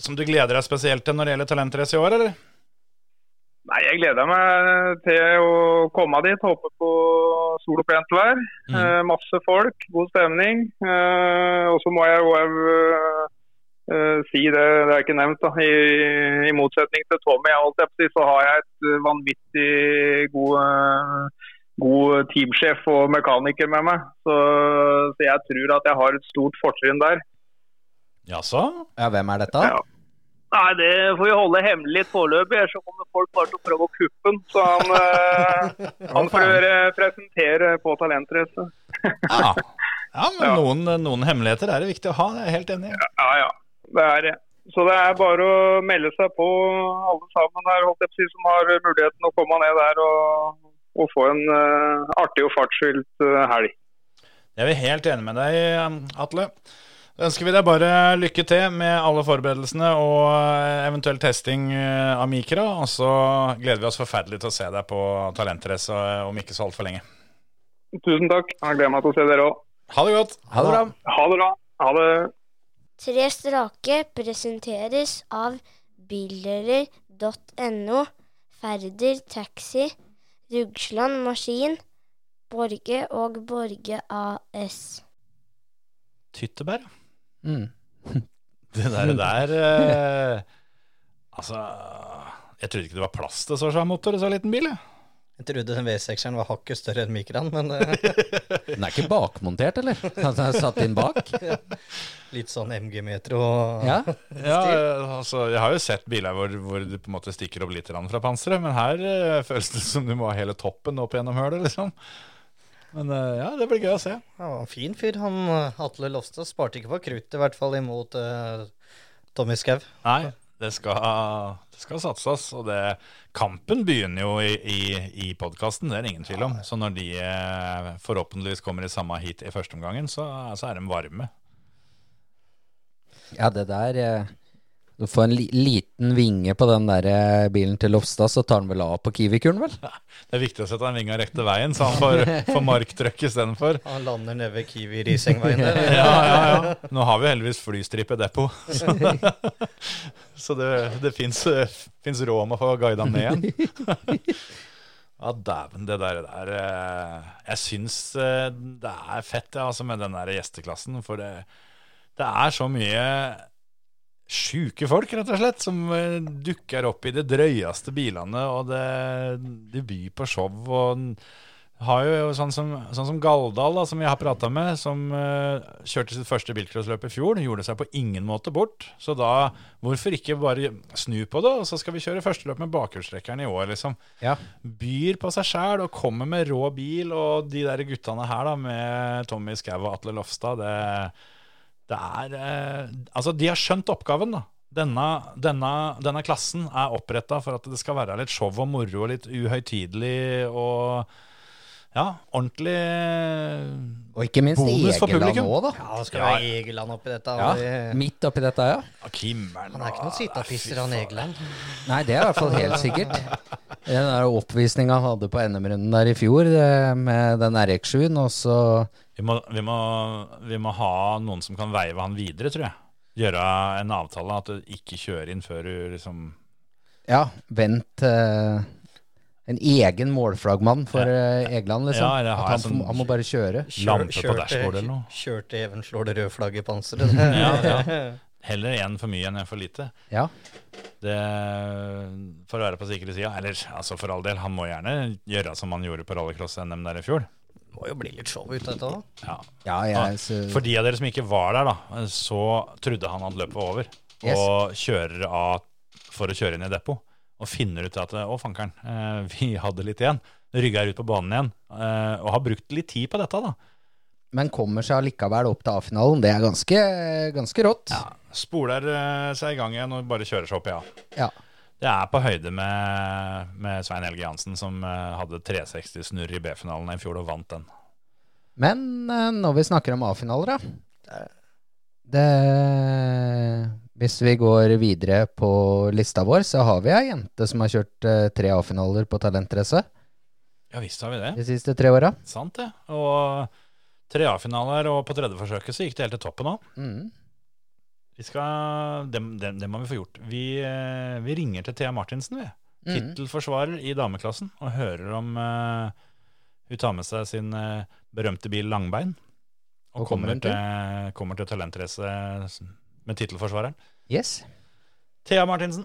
E: som du gleder deg spesielt til når det gjelder talentrace i år, eller?
H: Nei, Jeg gleder meg til å komme dit. Håper på sol og pent vær.
E: Mm.
H: Eh, masse folk, god stemning. Eh, og så må jeg jo eh, eh, si det, det er ikke nevnt, da. I, i motsetning til Tommy, jeg holdt jeg på å si, så har jeg et eh, vanvittig god eh, god teamsjef og mekaniker med meg, så, så jeg tror at jeg har et stort fortrinn der.
E: Jaså?
F: Ja, hvem er dette?
H: Ja. Nei, det får vi holde hemmelig litt foreløpig, ellers så kommer folk bare til å prøve å kuppe den. Så han, eh, han får eh, presentere på talentrace.
E: Ja. ja, men
H: Ja.
E: Noen, noen hemmeligheter er det viktig å ha, det er jeg helt enig i.
H: Ja, ja. Det er det. Så det er bare å melde seg på alle sammen der, holdt jeg på å si, som har muligheten å komme ned der og, og få en eh, artig og fartsfylt eh, helg.
E: Jeg er helt enig med deg, um, Atle. Da ønsker vi deg bare lykke til med alle forberedelsene og eventuell testing eh, av Mikra. Og så gleder vi oss forferdelig til å se deg på talentrace eh, om ikke så altfor lenge.
H: Tusen takk. Jeg gleder meg til å se dere òg.
E: Ha det godt.
F: Ha det bra.
H: Ha det bra. Ha det.
A: Tre strake presenteres av billerer.no, Færder Taxi, Rugsland Maskin, Borge og Borge AS.
E: Tyttebær, ja.
F: Mm.
E: Det der, der eh, Altså Jeg trodde ikke det var plass til så svær motor i så liten bil. jeg.
G: Jeg trodde den V6-eren var hakket større enn Mikran, men eh,
F: Den er ikke bakmontert, eller? At Den er satt inn bak?
G: litt sånn MG-metro. og-
F: Ja.
E: Ja, eh, altså, jeg har jo sett biler hvor, hvor du på en måte stikker opp litt grann fra panseret, men her eh, føles det som du må ha hele toppen opp gjennom hølet, liksom. Men eh, ja, det blir gøy å se.
G: Han var en fin fyr, han eh, Atle Lofstad. Sparte ikke på kruttet, i hvert fall imot eh, Tommy Skau.
E: Nei, det skal, det skal satses. Og det, kampen begynner jo i, i, i podkasten, det er det ingen tvil om. Så når de eh, forhåpentligvis kommer i samme heat i første omgangen, så, så er de varme.
F: ja, det der eh, Du får en li liten vinge på den der eh, bilen til Lofstad, så tar den vel av på Kiwi-kuren, vel?
E: Det er viktig å sette en vinga rette veien, så han får, får marktrøkk istedenfor.
G: Han lander nede ved Kiwi Risengveien der.
E: Ja, ja, ja. Nå har vi heldigvis flystripedepot, så, så det, det fins råd om å få guida han ned igjen. Ja, dæven, det der, det der eh, Jeg syns eh, det er fett ja, altså, med den der gjesteklassen. For det, det er så mye sjuke folk, rett og slett, som eh, dukker opp i de drøyeste bilene. Og det, de byr på show. Og n- har jo sånn som, sånn som Galdal, da, som vi har prata med, som eh, kjørte sitt første bilcrossløp i fjor, gjorde seg på ingen måte bort. Så da, hvorfor ikke bare snu på det, og så skal vi kjøre førsteløp med bakhjulstrekkeren i år, liksom
F: Ja.
E: byr på seg sjæl og kommer med rå bil. Og de der guttene her da med Tommy Skau og Atle Lofstad, det, det er eh, Altså, de har skjønt oppgaven, da. Denne, denne, denne klassen er oppretta for at det skal være litt show og moro og litt uhøytidelig og ja, ordentlig eh,
F: Og ikke minst
E: Bonus for
F: Egeland
E: publikum.
F: òg, da.
G: Ja, det skal
E: Ja. Ah,
G: være Egeland oppi dette.
F: Ja,
G: og det-
F: Midt oppi dette, ja.
E: Kimmeren
G: Han er ikke noen sittapisser, han Egeland.
F: Nei, det er i hvert fall helt sikkert. Den der oppvisninga han hadde på NM-runden der i fjor, eh, med den RX7-en, og så
E: Vi må, vi, må, vi må ha noen som kan veive han videre, tror jeg. Gjøre en avtale at du ikke kjører inn før du liksom
F: Ja, vent eh, En egen målflaggmann for eh, Egeland, liksom.
E: Ja, eller
F: At
E: ha
F: han,
E: en sånn-
F: får- han må bare kjøre.
E: Lampe på dashbordet eller noe.
G: Kjørte even slår det røde flagget i panseret.
E: Ja, ja. Heller én for mye enn én for lite.
F: Ja.
E: Det, for å være på sikre sida. Eller altså for all del, han må gjerne gjøre som han gjorde på rallycross-NM der i fjor.
G: Må jo bli litt show ut av dette òg.
E: Ja.
F: Ja,
E: Ah,
F: jeg, så,
E: For de av dere som ikke var der, da, så trodde han at løpet var over.
F: Yes.
E: Og kjører av for å kjøre inn i depot. Og finner ut at å, fankeren, eh, vi hadde litt igjen. Rygger ut på banen igjen. eh, Og har brukt litt tid på dette, da.
F: men kommer seg allikevel opp til A-finalen. Det er ganske, ganske rått.
E: Spoler eh, seg i gang igjen og bare kjører seg opp, ja.
F: Ja.
E: Det er på høyde med, med Svein Helge Jansen, som eh, hadde 360-snurr i B-finalen i fjor og vant den.
F: Men eh, når vi snakker om A-finaler, da det, Hvis vi går videre på lista vår, så har vi ei jente som har kjørt eh, tre A-finaler på talentrace
E: Ja visst har vi det.
F: de siste tre åra.
E: Sant, det. Og tre A-finaler, og på tredje forsøket så gikk det helt til toppen òg.
F: Mm.
E: Vi skal, det, det, det må vi få gjort. Vi, eh, vi ringer til Thea Martinsen, vi.
F: Mm.
E: Tittelforsvarer i dameklassen, og hører om eh, hun tar med seg sin eh, berømte bil Langbein. Og,
F: Og kommer
E: kommer,
F: hun til?
E: til, eh, kommer til talentrace med tittelforsvareren.
F: Yes.
E: Thea Martinsen.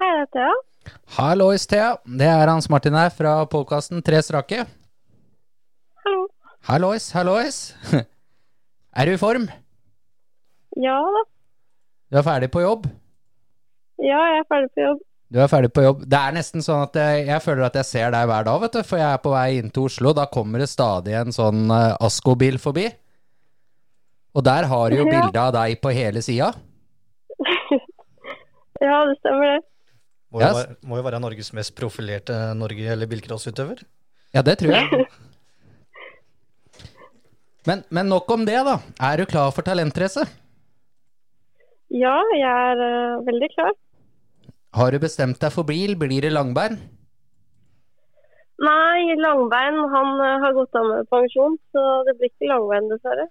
J: Hei, det er Thea.
F: Hallois, Thea. Det er Hans Martin her fra podkasten Tre strake.
J: Hallo.
F: Hallois, hallois. Er du i form?
J: Ja da.
F: Du er ferdig på jobb?
J: Ja, jeg er ferdig på jobb.
F: Du er ferdig på jobb. Det er nesten sånn at jeg, jeg føler at jeg ser deg hver dag, vet du. For jeg er på vei inn til Oslo, da kommer det stadig en sånn eh, Asko-bil forbi. Og der har du jo
J: Ja.
F: bilde av deg på hele sida.
J: Ja, det stemmer det.
G: Må,
F: Ja,
G: jo
F: s-
G: være- må jo være Norges mest profilerte Norge- eller bilcrossutøver.
F: Ja, det tror jeg. Men, men nok om det, da. Er du klar for talentrace?
J: Ja, jeg er eh, veldig klar.
F: Har du bestemt deg for bil? Blir det langbein?
J: Nei, Langbein han eh, har gått av med pensjon, så det blir ikke Langbein, dessverre.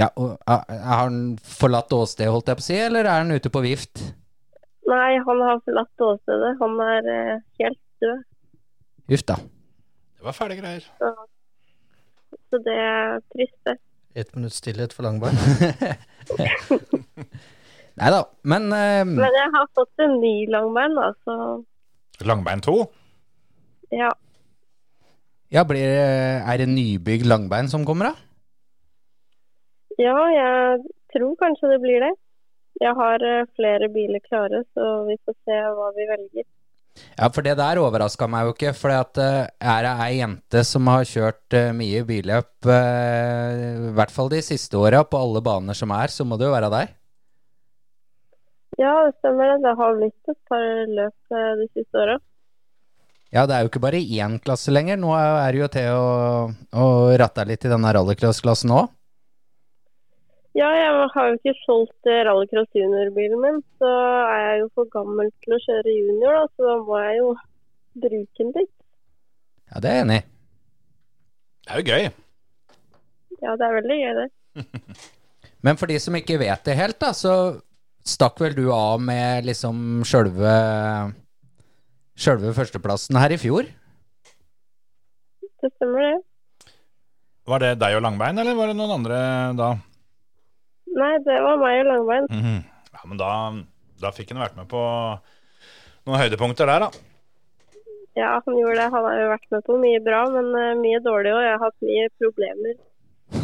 F: Ja, og, a- Eh, Har han forlatt åstedet, holdt jeg på å si, eller er han ute på vift?
J: Nei, han har forlatt åstedet. Han er eh, helt død.
F: Uff da.
E: Det var fæle greier.
J: Så det er trist, det.
G: Ett minutts stillhet for Langberg.
F: Nei da, men eh,
J: Men jeg har fått en ny Langbein, da, så
E: Langbein 2.
J: ja.
F: Ja, blir, det- er det nybygd langbein som kommer, da?
J: Ja, jeg tror kanskje det blir det. Jeg har eh, flere biler klare, så vi får se hva vi velger.
F: Ja, for det der overraska meg jo ikke. For er det ei jente som har kjørt eh, mye billøp, eh, i hvert fall de siste åra, på alle baner som er, så må det jo være deg.
J: Ja, det stemmer. det. Det har blitt et par løp eh, de siste åra.
F: Ja, det er jo ikke bare én klasse lenger. Nå er det jo til å, å ratte litt i denne rallycross-klassen òg.
J: Ja, jeg har jo ikke solgt eh, rallycross junior-bilen min, så er jeg jo for gammel til å kjøre junior, da, så da må jeg jo bruke den litt.
F: Ja, det er jeg enig i.
E: Det er jo gøy.
J: Ja, det er veldig gøy, det.
F: Men for de som ikke vet det helt, da, så stakk vel du av med liksom sjølve Sjølve førsteplassen her i fjor?
J: Det stemmer, det.
E: Var det deg og Langbein, eller var det noen andre da?
J: Nei, det var meg og langbein.
E: Mhm. Ja, men da, da fikk han vært med på noen høydepunkter der, da.
J: Ja, han gjorde det. Han har jo vært med på mye bra, men eh, mye dårlig òg. Jeg har hatt mye problemer.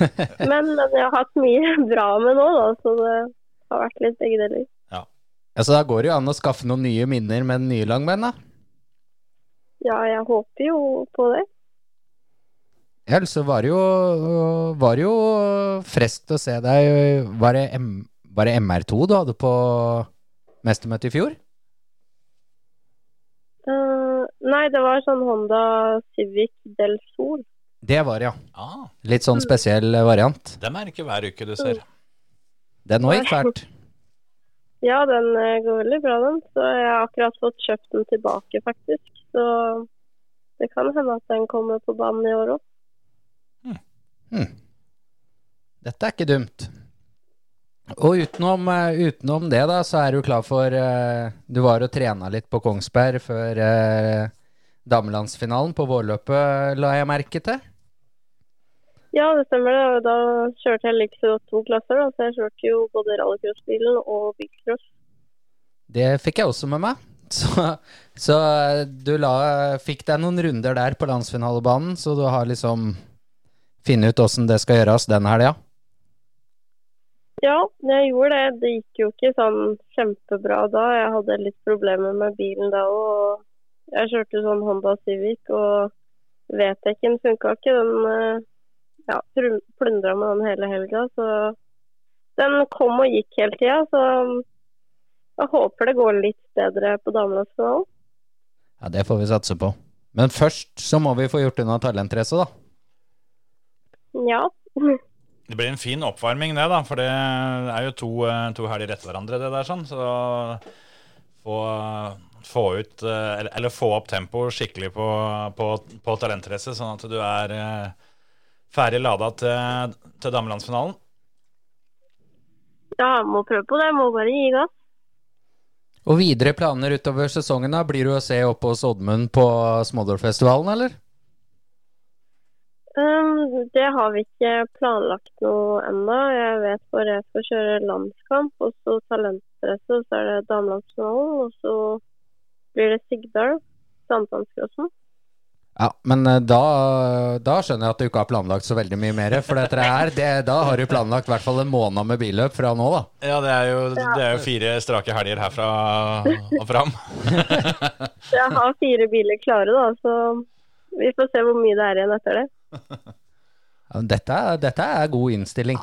J: men, men jeg har hatt mye bra med nå, da, så det har vært litt begge deler.
F: Ja, Så da går det jo an å skaffe noen nye minner med den nye langbein, da.
J: Ja, jeg håper jo på det.
F: Ja, ellers så var det jo, var det jo frest å se deg Var det, M, var det MR2 du hadde på mestermøtet i fjor?
J: Eh, nei, det var sånn Honda Civic Del Sol.
F: Det var det, ja. Litt sånn spesiell variant.
E: Dem er ikke hver uke du ser.
F: Den òg gikk fælt.
J: Ja, den eh, går veldig bra, den. Så jeg har akkurat fått kjøpt den tilbake, faktisk. Så det kan hende at den kommer på banen i år òg.
F: Hm. Dette er ikke dumt. Og utenom, eh, utenom det, da, så er du klar for eh, Du var og trena litt på Kongsberg før eh, damelandsfinalen på vårløpet, la jeg merke til.
J: Ja, det stemmer det. og Da kjørte jeg like så godt to klasser, da. Så jeg kjørte jo både rallycrossbilen og bilcross.
F: Det fikk jeg også med meg. Så, så eh, du la, fikk deg noen runder der på landsfinalebanen, så du har liksom funnet ut åssen det skal gjøres den helga.
J: Ja, jeg gjorde det. Det gikk jo ikke sånn kjempebra da. Jeg hadde litt problemer med bilen da òg. Jeg kjørte sånn Honda Civic, og VTEC-en funka ikke. Den eh, ja, plundra meg den hele helga. Så den kom og gikk hele tida. Så jeg håper det går litt bedre på damelagsfinalen.
F: Ja, det får vi satse på. Men først så må vi få gjort unna talentrace, da.
J: Ja.
E: Det blir en fin oppvarming det, da, for det er jo to, eh, to helger etter hverandre, det der, sånn. Så få, få ut eh, Eller, eller få opp tempoet skikkelig på, på, på talentrace, sånn at du er eh, ferdig lada til, til damelandsfinalen.
J: Ja, jeg må prøve på det. Jeg må bare gi gass.
F: Og videre planer utover sesongen, da? Blir du å se oppe hos Oddmund på Smådårfestivalen, eller?
J: Um, det har vi ikke planlagt noe ennå. Jeg vet bare jeg skal kjøre landskamp, og så talentrace, og så er det damelagsfinalen, og så blir det Sigdal, Sankthanscrossen.
F: Ja, men eh, da, da skjønner jeg at du ikke har planlagt så veldig mye mer. For dette her, det, da har du planlagt i hvert fall en måned med billøp fra nå, da.
E: Ja, det er jo, det er jo fire strake helger herfra og fram.
J: Så jeg har fire biler klare, da, så vi får se hvor mye det er igjen etter det.
F: Ja, men Dette, er- dette er god innstilling.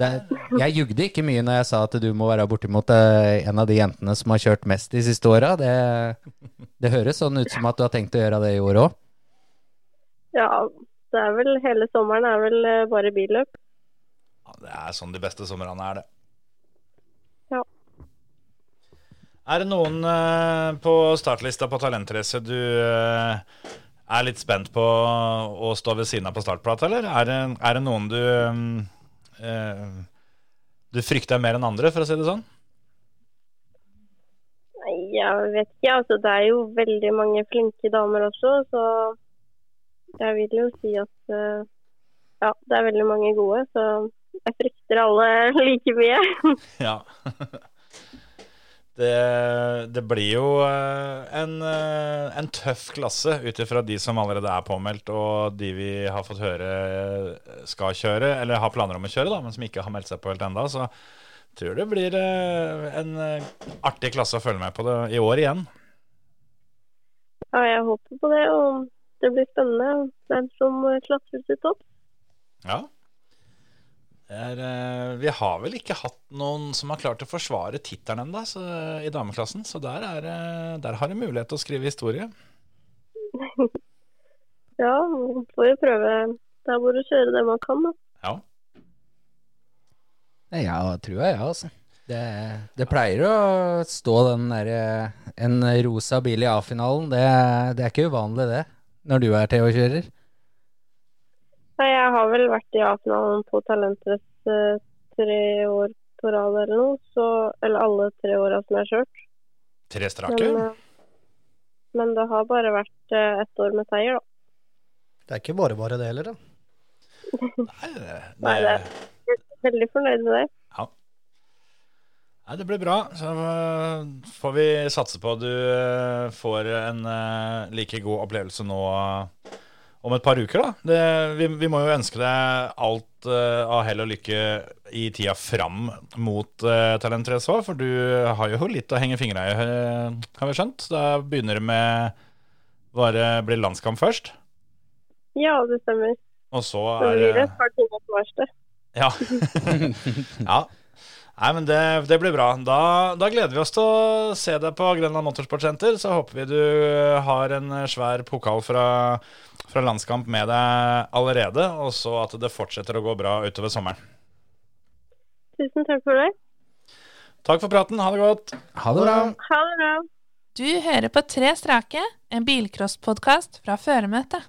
F: Det, er- jeg jugde ikke mye når jeg sa at du må være bortimot eh, en av de jentene som har kjørt mest de siste åra. Det, det høres sånn ut som at du har tenkt å gjøre det i år òg.
J: Ja, det er vel hele sommeren er vel eh, bare billøp.
E: Det er sånn de beste somrene er, det.
J: Ja.
E: Er det noen eh, på startlista på talentrace du eh, er litt spent på å stå ved siden av på startplata, eller? Er det, er det noen du mm, eh, du frykter mer enn andre, for å si det sånn?
J: Nei, jeg vet ikke. Altså, det er jo veldig mange flinke damer også, så jeg vil jo si at eh, ja, det er veldig mange gode. Så jeg frykter alle like mye.
E: Ja. Det, det blir jo eh, en, eh, en tøff klasse ut ifra de som allerede er påmeldt, og de vi har fått høre eh, skal kjøre, eller har planer om å kjøre, da, men som ikke har meldt seg på helt ennå. Så jeg tror det blir eh, en eh, artig klasse å følge med på det i år igjen.
J: Ja, jeg håper på det, og det blir spennende hvem som klatrer til topp.
E: Ja. Det er, eh, vi har vel ikke hatt noen som har klart å forsvare tittelen ennå i dameklassen, så der, er, eh, der har de mulighet til å skrive historie.
J: Ja, man får jo prøve der hvor å kjøre det man kan, da.
F: Nei, Jeg tror jeg, ja, altså. Det, det pleier å stå den der, eh, en rosa bil i A-finalen. Det, det er ikke uvanlig, det, når du er TH-kjører.
J: Nei, jeg har vel vært i A-finalen på Talentrace eh, tre år på rad eller noe. Så, eller alle tre åra som jeg har kjørt.
E: Tre strake?
J: Men, eh, men det har bare vært eh, ett år med seier, da.
G: Det er ikke bare bare det heller, da.
J: Nei, det jeg er veldig fornøyd med det.
E: Nei, det blir bra. Så øh, får vi satse på at du øh, får en øh, like god opplevelse nå øh, om et par uker, da. Det, vi, vi må jo ønske deg alt øh, av hell og lykke i tida fram mot øh, Talent 3 SA, for du har jo litt å henge fingra i, øh, har vi skjønt. Da begynner det med bare bli landskamp først,
J: Ja, det stemmer.
E: og så
J: Så
E: er
J: blir
E: det
J: det et par timer på verkstedet.
E: Ja. ja. Nei, men det, det blir bra. Da, da gleder vi oss til å se deg på Grenland Motorsportsenter. Så håper vi du har en svær pokal fra, fra landskamp med deg allerede, og så at det fortsetter å gå bra utover sommeren.
J: Tusen takk for det.
E: Takk for praten. Ha det godt.
F: Ha det bra.
J: Ha det bra.
I: Du hører på Tre strake, en bilcrosspodkast fra føremøtet.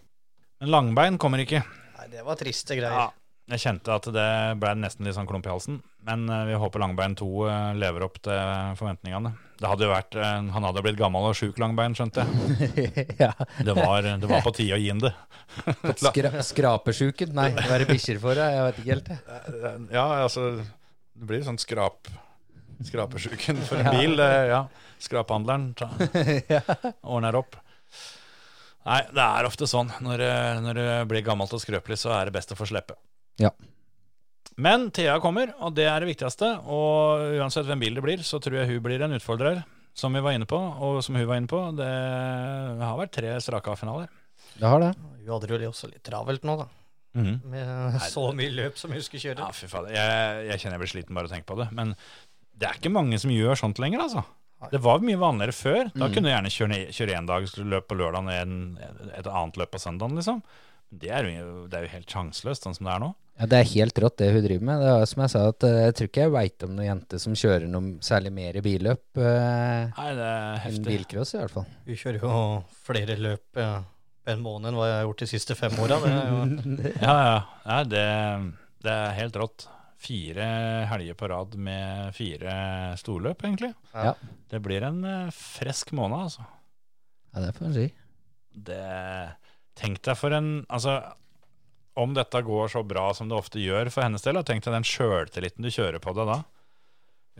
E: Men langbein kommer ikke.
G: Nei, det var triste greier.
E: Ja, jeg kjente at det ble nesten litt sånn klump i halsen. Men eh, vi håper Langbein 2 eh, lever opp til forventningene. Det hadde jo vært, eh, Han hadde blitt gammel og sjuk, Langbein, skjønte jeg.
F: Ja.
E: det, var, det var på tide å gi ham det.
F: Skra skrapesjuken? Nei, det være bikkjer for deg? Jeg vet ikke helt. jeg.
E: Ja, altså Det blir sånn skrap skrapesjuken for en
F: Ja.
E: bil. eh, Ja. Skraphandleren ta-
F: Ja.
E: ordner opp. Nei, det er ofte sånn. Når, eh, når det blir gammelt og skrøpelig, så er det best å få slippe.
F: Ja.
E: Men Thea kommer, og det er det viktigste. Og uansett hvem bil det blir, så tror jeg hun blir en utfordrer. Som vi var inne på, og som hun var inne på. Det har vært tre strake A-finaler.
F: Det har det.
G: Hun hadde det jo også litt travelt nå, da.
E: Mhm.
G: Med så mye løp som hun skulle kjøre.
E: Ja, fy faen. Jeg, jeg kjenner jeg blir sliten bare av å tenke på det. Men det er ikke mange som gjør sånt lenger, altså. Det var mye vanligere før. Da
F: Mm.
E: kunne du gjerne kjøre, ned, kjøre en dag, skulle løpe på lørdagen, en, et annet løp på søndagen, liksom. Det er jo, det er jo helt sjanseløst, sånn som det er nå.
F: Ja, det er helt rått det hun driver med. Det er jo som Jeg sa at eh, jeg tror ikke jeg veit om noen jente som kjører noe særlig mer i billøp eh,
E: Nei, det er
F: enn
E: heftig.
F: bilcross, i hvert fall.
G: Hun kjører jo flere løp eh, på en måned enn hva jeg har gjort de siste fem åra. Det er jo
E: Ja, ja. Nei, det, det er helt rått. Fire helger på rad med fire storløp, egentlig.
F: Ja.
E: Det blir en eh, fresk måned, altså.
F: Ja, det får en si.
E: det, Tenk deg for en Altså, om dette går så bra som det ofte gjør for hennes del, da, tenk deg den sjøltilliten du kjører på deg da.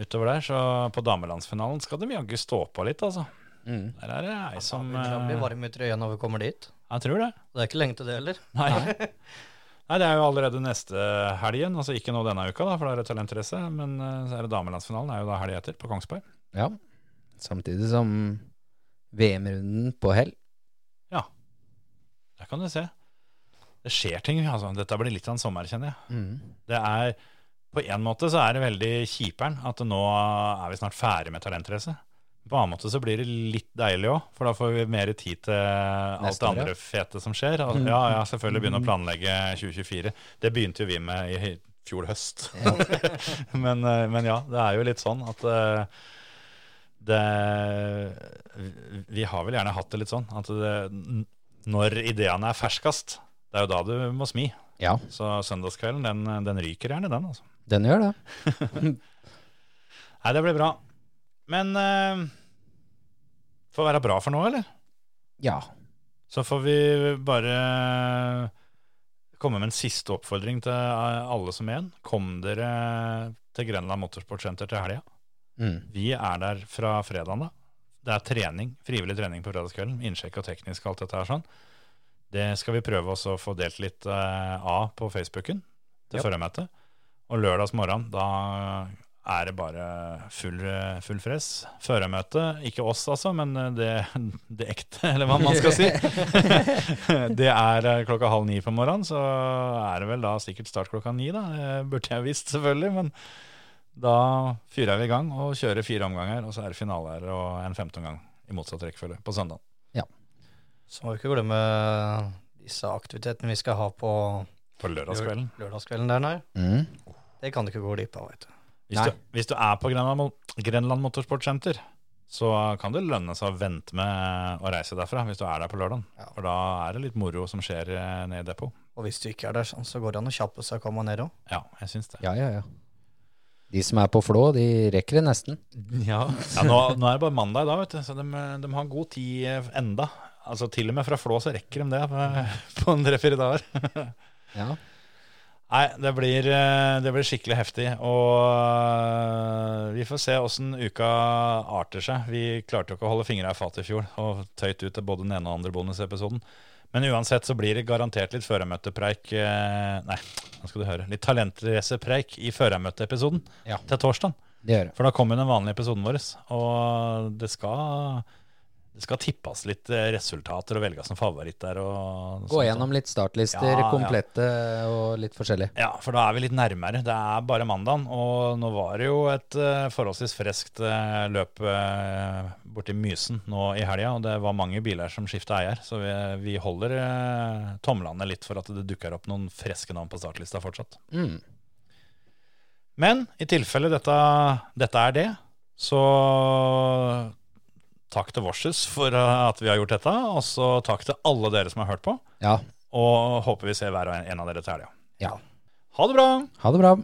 E: Utover der, så på damelandsfinalen skal de jaggu stå på litt, altså.
F: Mm.
E: Der er det ei som
G: Hun blir
E: eh,
G: varm i trøya når vi kommer dit.
E: Jeg tror det.
G: Det er ikke lenge til det heller.
E: Nei. Nei, det er jo allerede neste helgen. Altså ikke nå denne uka, da, for da er det talentrace. Men eh, så er det damelandsfinalen er jo da helga etter, på Kongsberg.
F: Ja. Samtidig som VM-runden på hell.
E: Der kan du se. Det skjer ting. altså. Dette blir litt av en sommer, kjenner jeg.
F: Mm.
E: Det er, På en måte så er det veldig kjiperen at nå er vi snart ferdig med talentrace. På en annen måte så blir det litt deilig òg, for da får vi mer tid til alt
F: Neste
E: det
F: år,
E: andre
F: ja. Mm.
E: fete som skjer. Al- Ja, ja, selvfølgelig begynne å planlegge 2024. Det begynte jo vi med i høy- fjor høst. men, eh, men ja, det er jo litt sånn at eh, det Vi har vel gjerne hatt det litt sånn at det, n- når ideene er ferskest, det er jo da du må smi.
F: Ja,
E: Så søndagskvelden, den, den ryker gjerne, den, altså.
F: den gjør det.
E: Nei, det blir bra. Men eh, får være bra for nå, eller?
F: Ja.
E: Så får vi bare komme med en siste oppfordring til eh, alle som er igjen. Kom dere til Grenland Motorsportsenter til helga.
F: Mm.
E: Vi er der fra fredagen da. Det er trening, frivillig trening på fredagskvelden. Innsjekk og teknisk og alt dette her sånn. Det skal vi prøve også å få delt litt eh, av på Facebooken til
F: Ja.
E: førermøtet. Og lørdags morgen, da er det bare full, eh, full fres. Førermøte, ikke oss altså, men eh, det, det ekte, eller hva man skal si. det er eh, klokka halv ni på morgenen, så er det vel da sikkert start klokka ni, da. Eh, Burde jeg visst, selvfølgelig, men da fyrer vi i gang og kjører fire omganger, og så er det finale her og en femte omgang i motsatt rekkefølge på søndag.
G: Så må vi ikke glemme disse aktivitetene vi skal ha på
E: På lørdagskvelden.
G: Lø- Lørdagskvelden der, nei.
F: Mm.
G: Det kan du ikke gå glipp av, veit du.
E: Hvis du, hvis du er på Grenland, Mo- Grenland Motorsportsenter, så kan det lønne seg å vente med å reise derfra hvis du er der på lørdagen. For da er det litt moro som skjer eh, nede i depot.
G: Og hvis du ikke er der, sånn, så går det an å kjappe seg og komme ned òg.
E: Ja, jeg syns det.
F: Ja, ja, ja. De som er på Flå, de rekker det nesten.
E: Ja, nå, nå er det bare mandag i dag, vet du, så de, de har god tid eh, enda. Altså Til og med fra Flå så rekker de det eh, på- på en tre-fire dager.
F: Ja.
E: Nei, det blir, eh, det blir skikkelig heftig. Og eh, vi får se åssen uka arter seg. Vi klarte jo ikke å holde fingra i fatet i fjor og tøyt ut til både den ene og andre bonusepisoden. Men uansett så blir det garantert litt førermøtepreik eh, Nei, nå skal du høre. Litt talentracerpreik i førermøteepisoden til torsdag.
F: Det gjør det.
E: For da kommer den vanlige episoden vår, og det skal, det skal tippes litt eh, resultater og velges som favoritt der. Og sånn
F: Gå
E: sånt.
F: gjennom litt startlister,
E: Ja, ja.
F: komplette og litt forskjellig.
E: Ja, for da er vi litt nærmere. Det er bare mandagen. Og nå var det jo et eh, forholdsvis friskt eh, løp eh, borti Mysen nå i helga, og det var mange biler som skifta eier. Så vi, vi holder eh, tomlene litt for at det dukker opp noen friske navn på startlista fortsatt.
F: Mm.
E: Men i tilfelle dette, dette er det, så takk til Vorses for eh, at vi har gjort dette. Og så takk til alle dere som har hørt på,
F: Ja.
E: og håper vi ser hver og en av dere til helga.
F: Ja.
E: Ha det bra!
F: Ha det bra.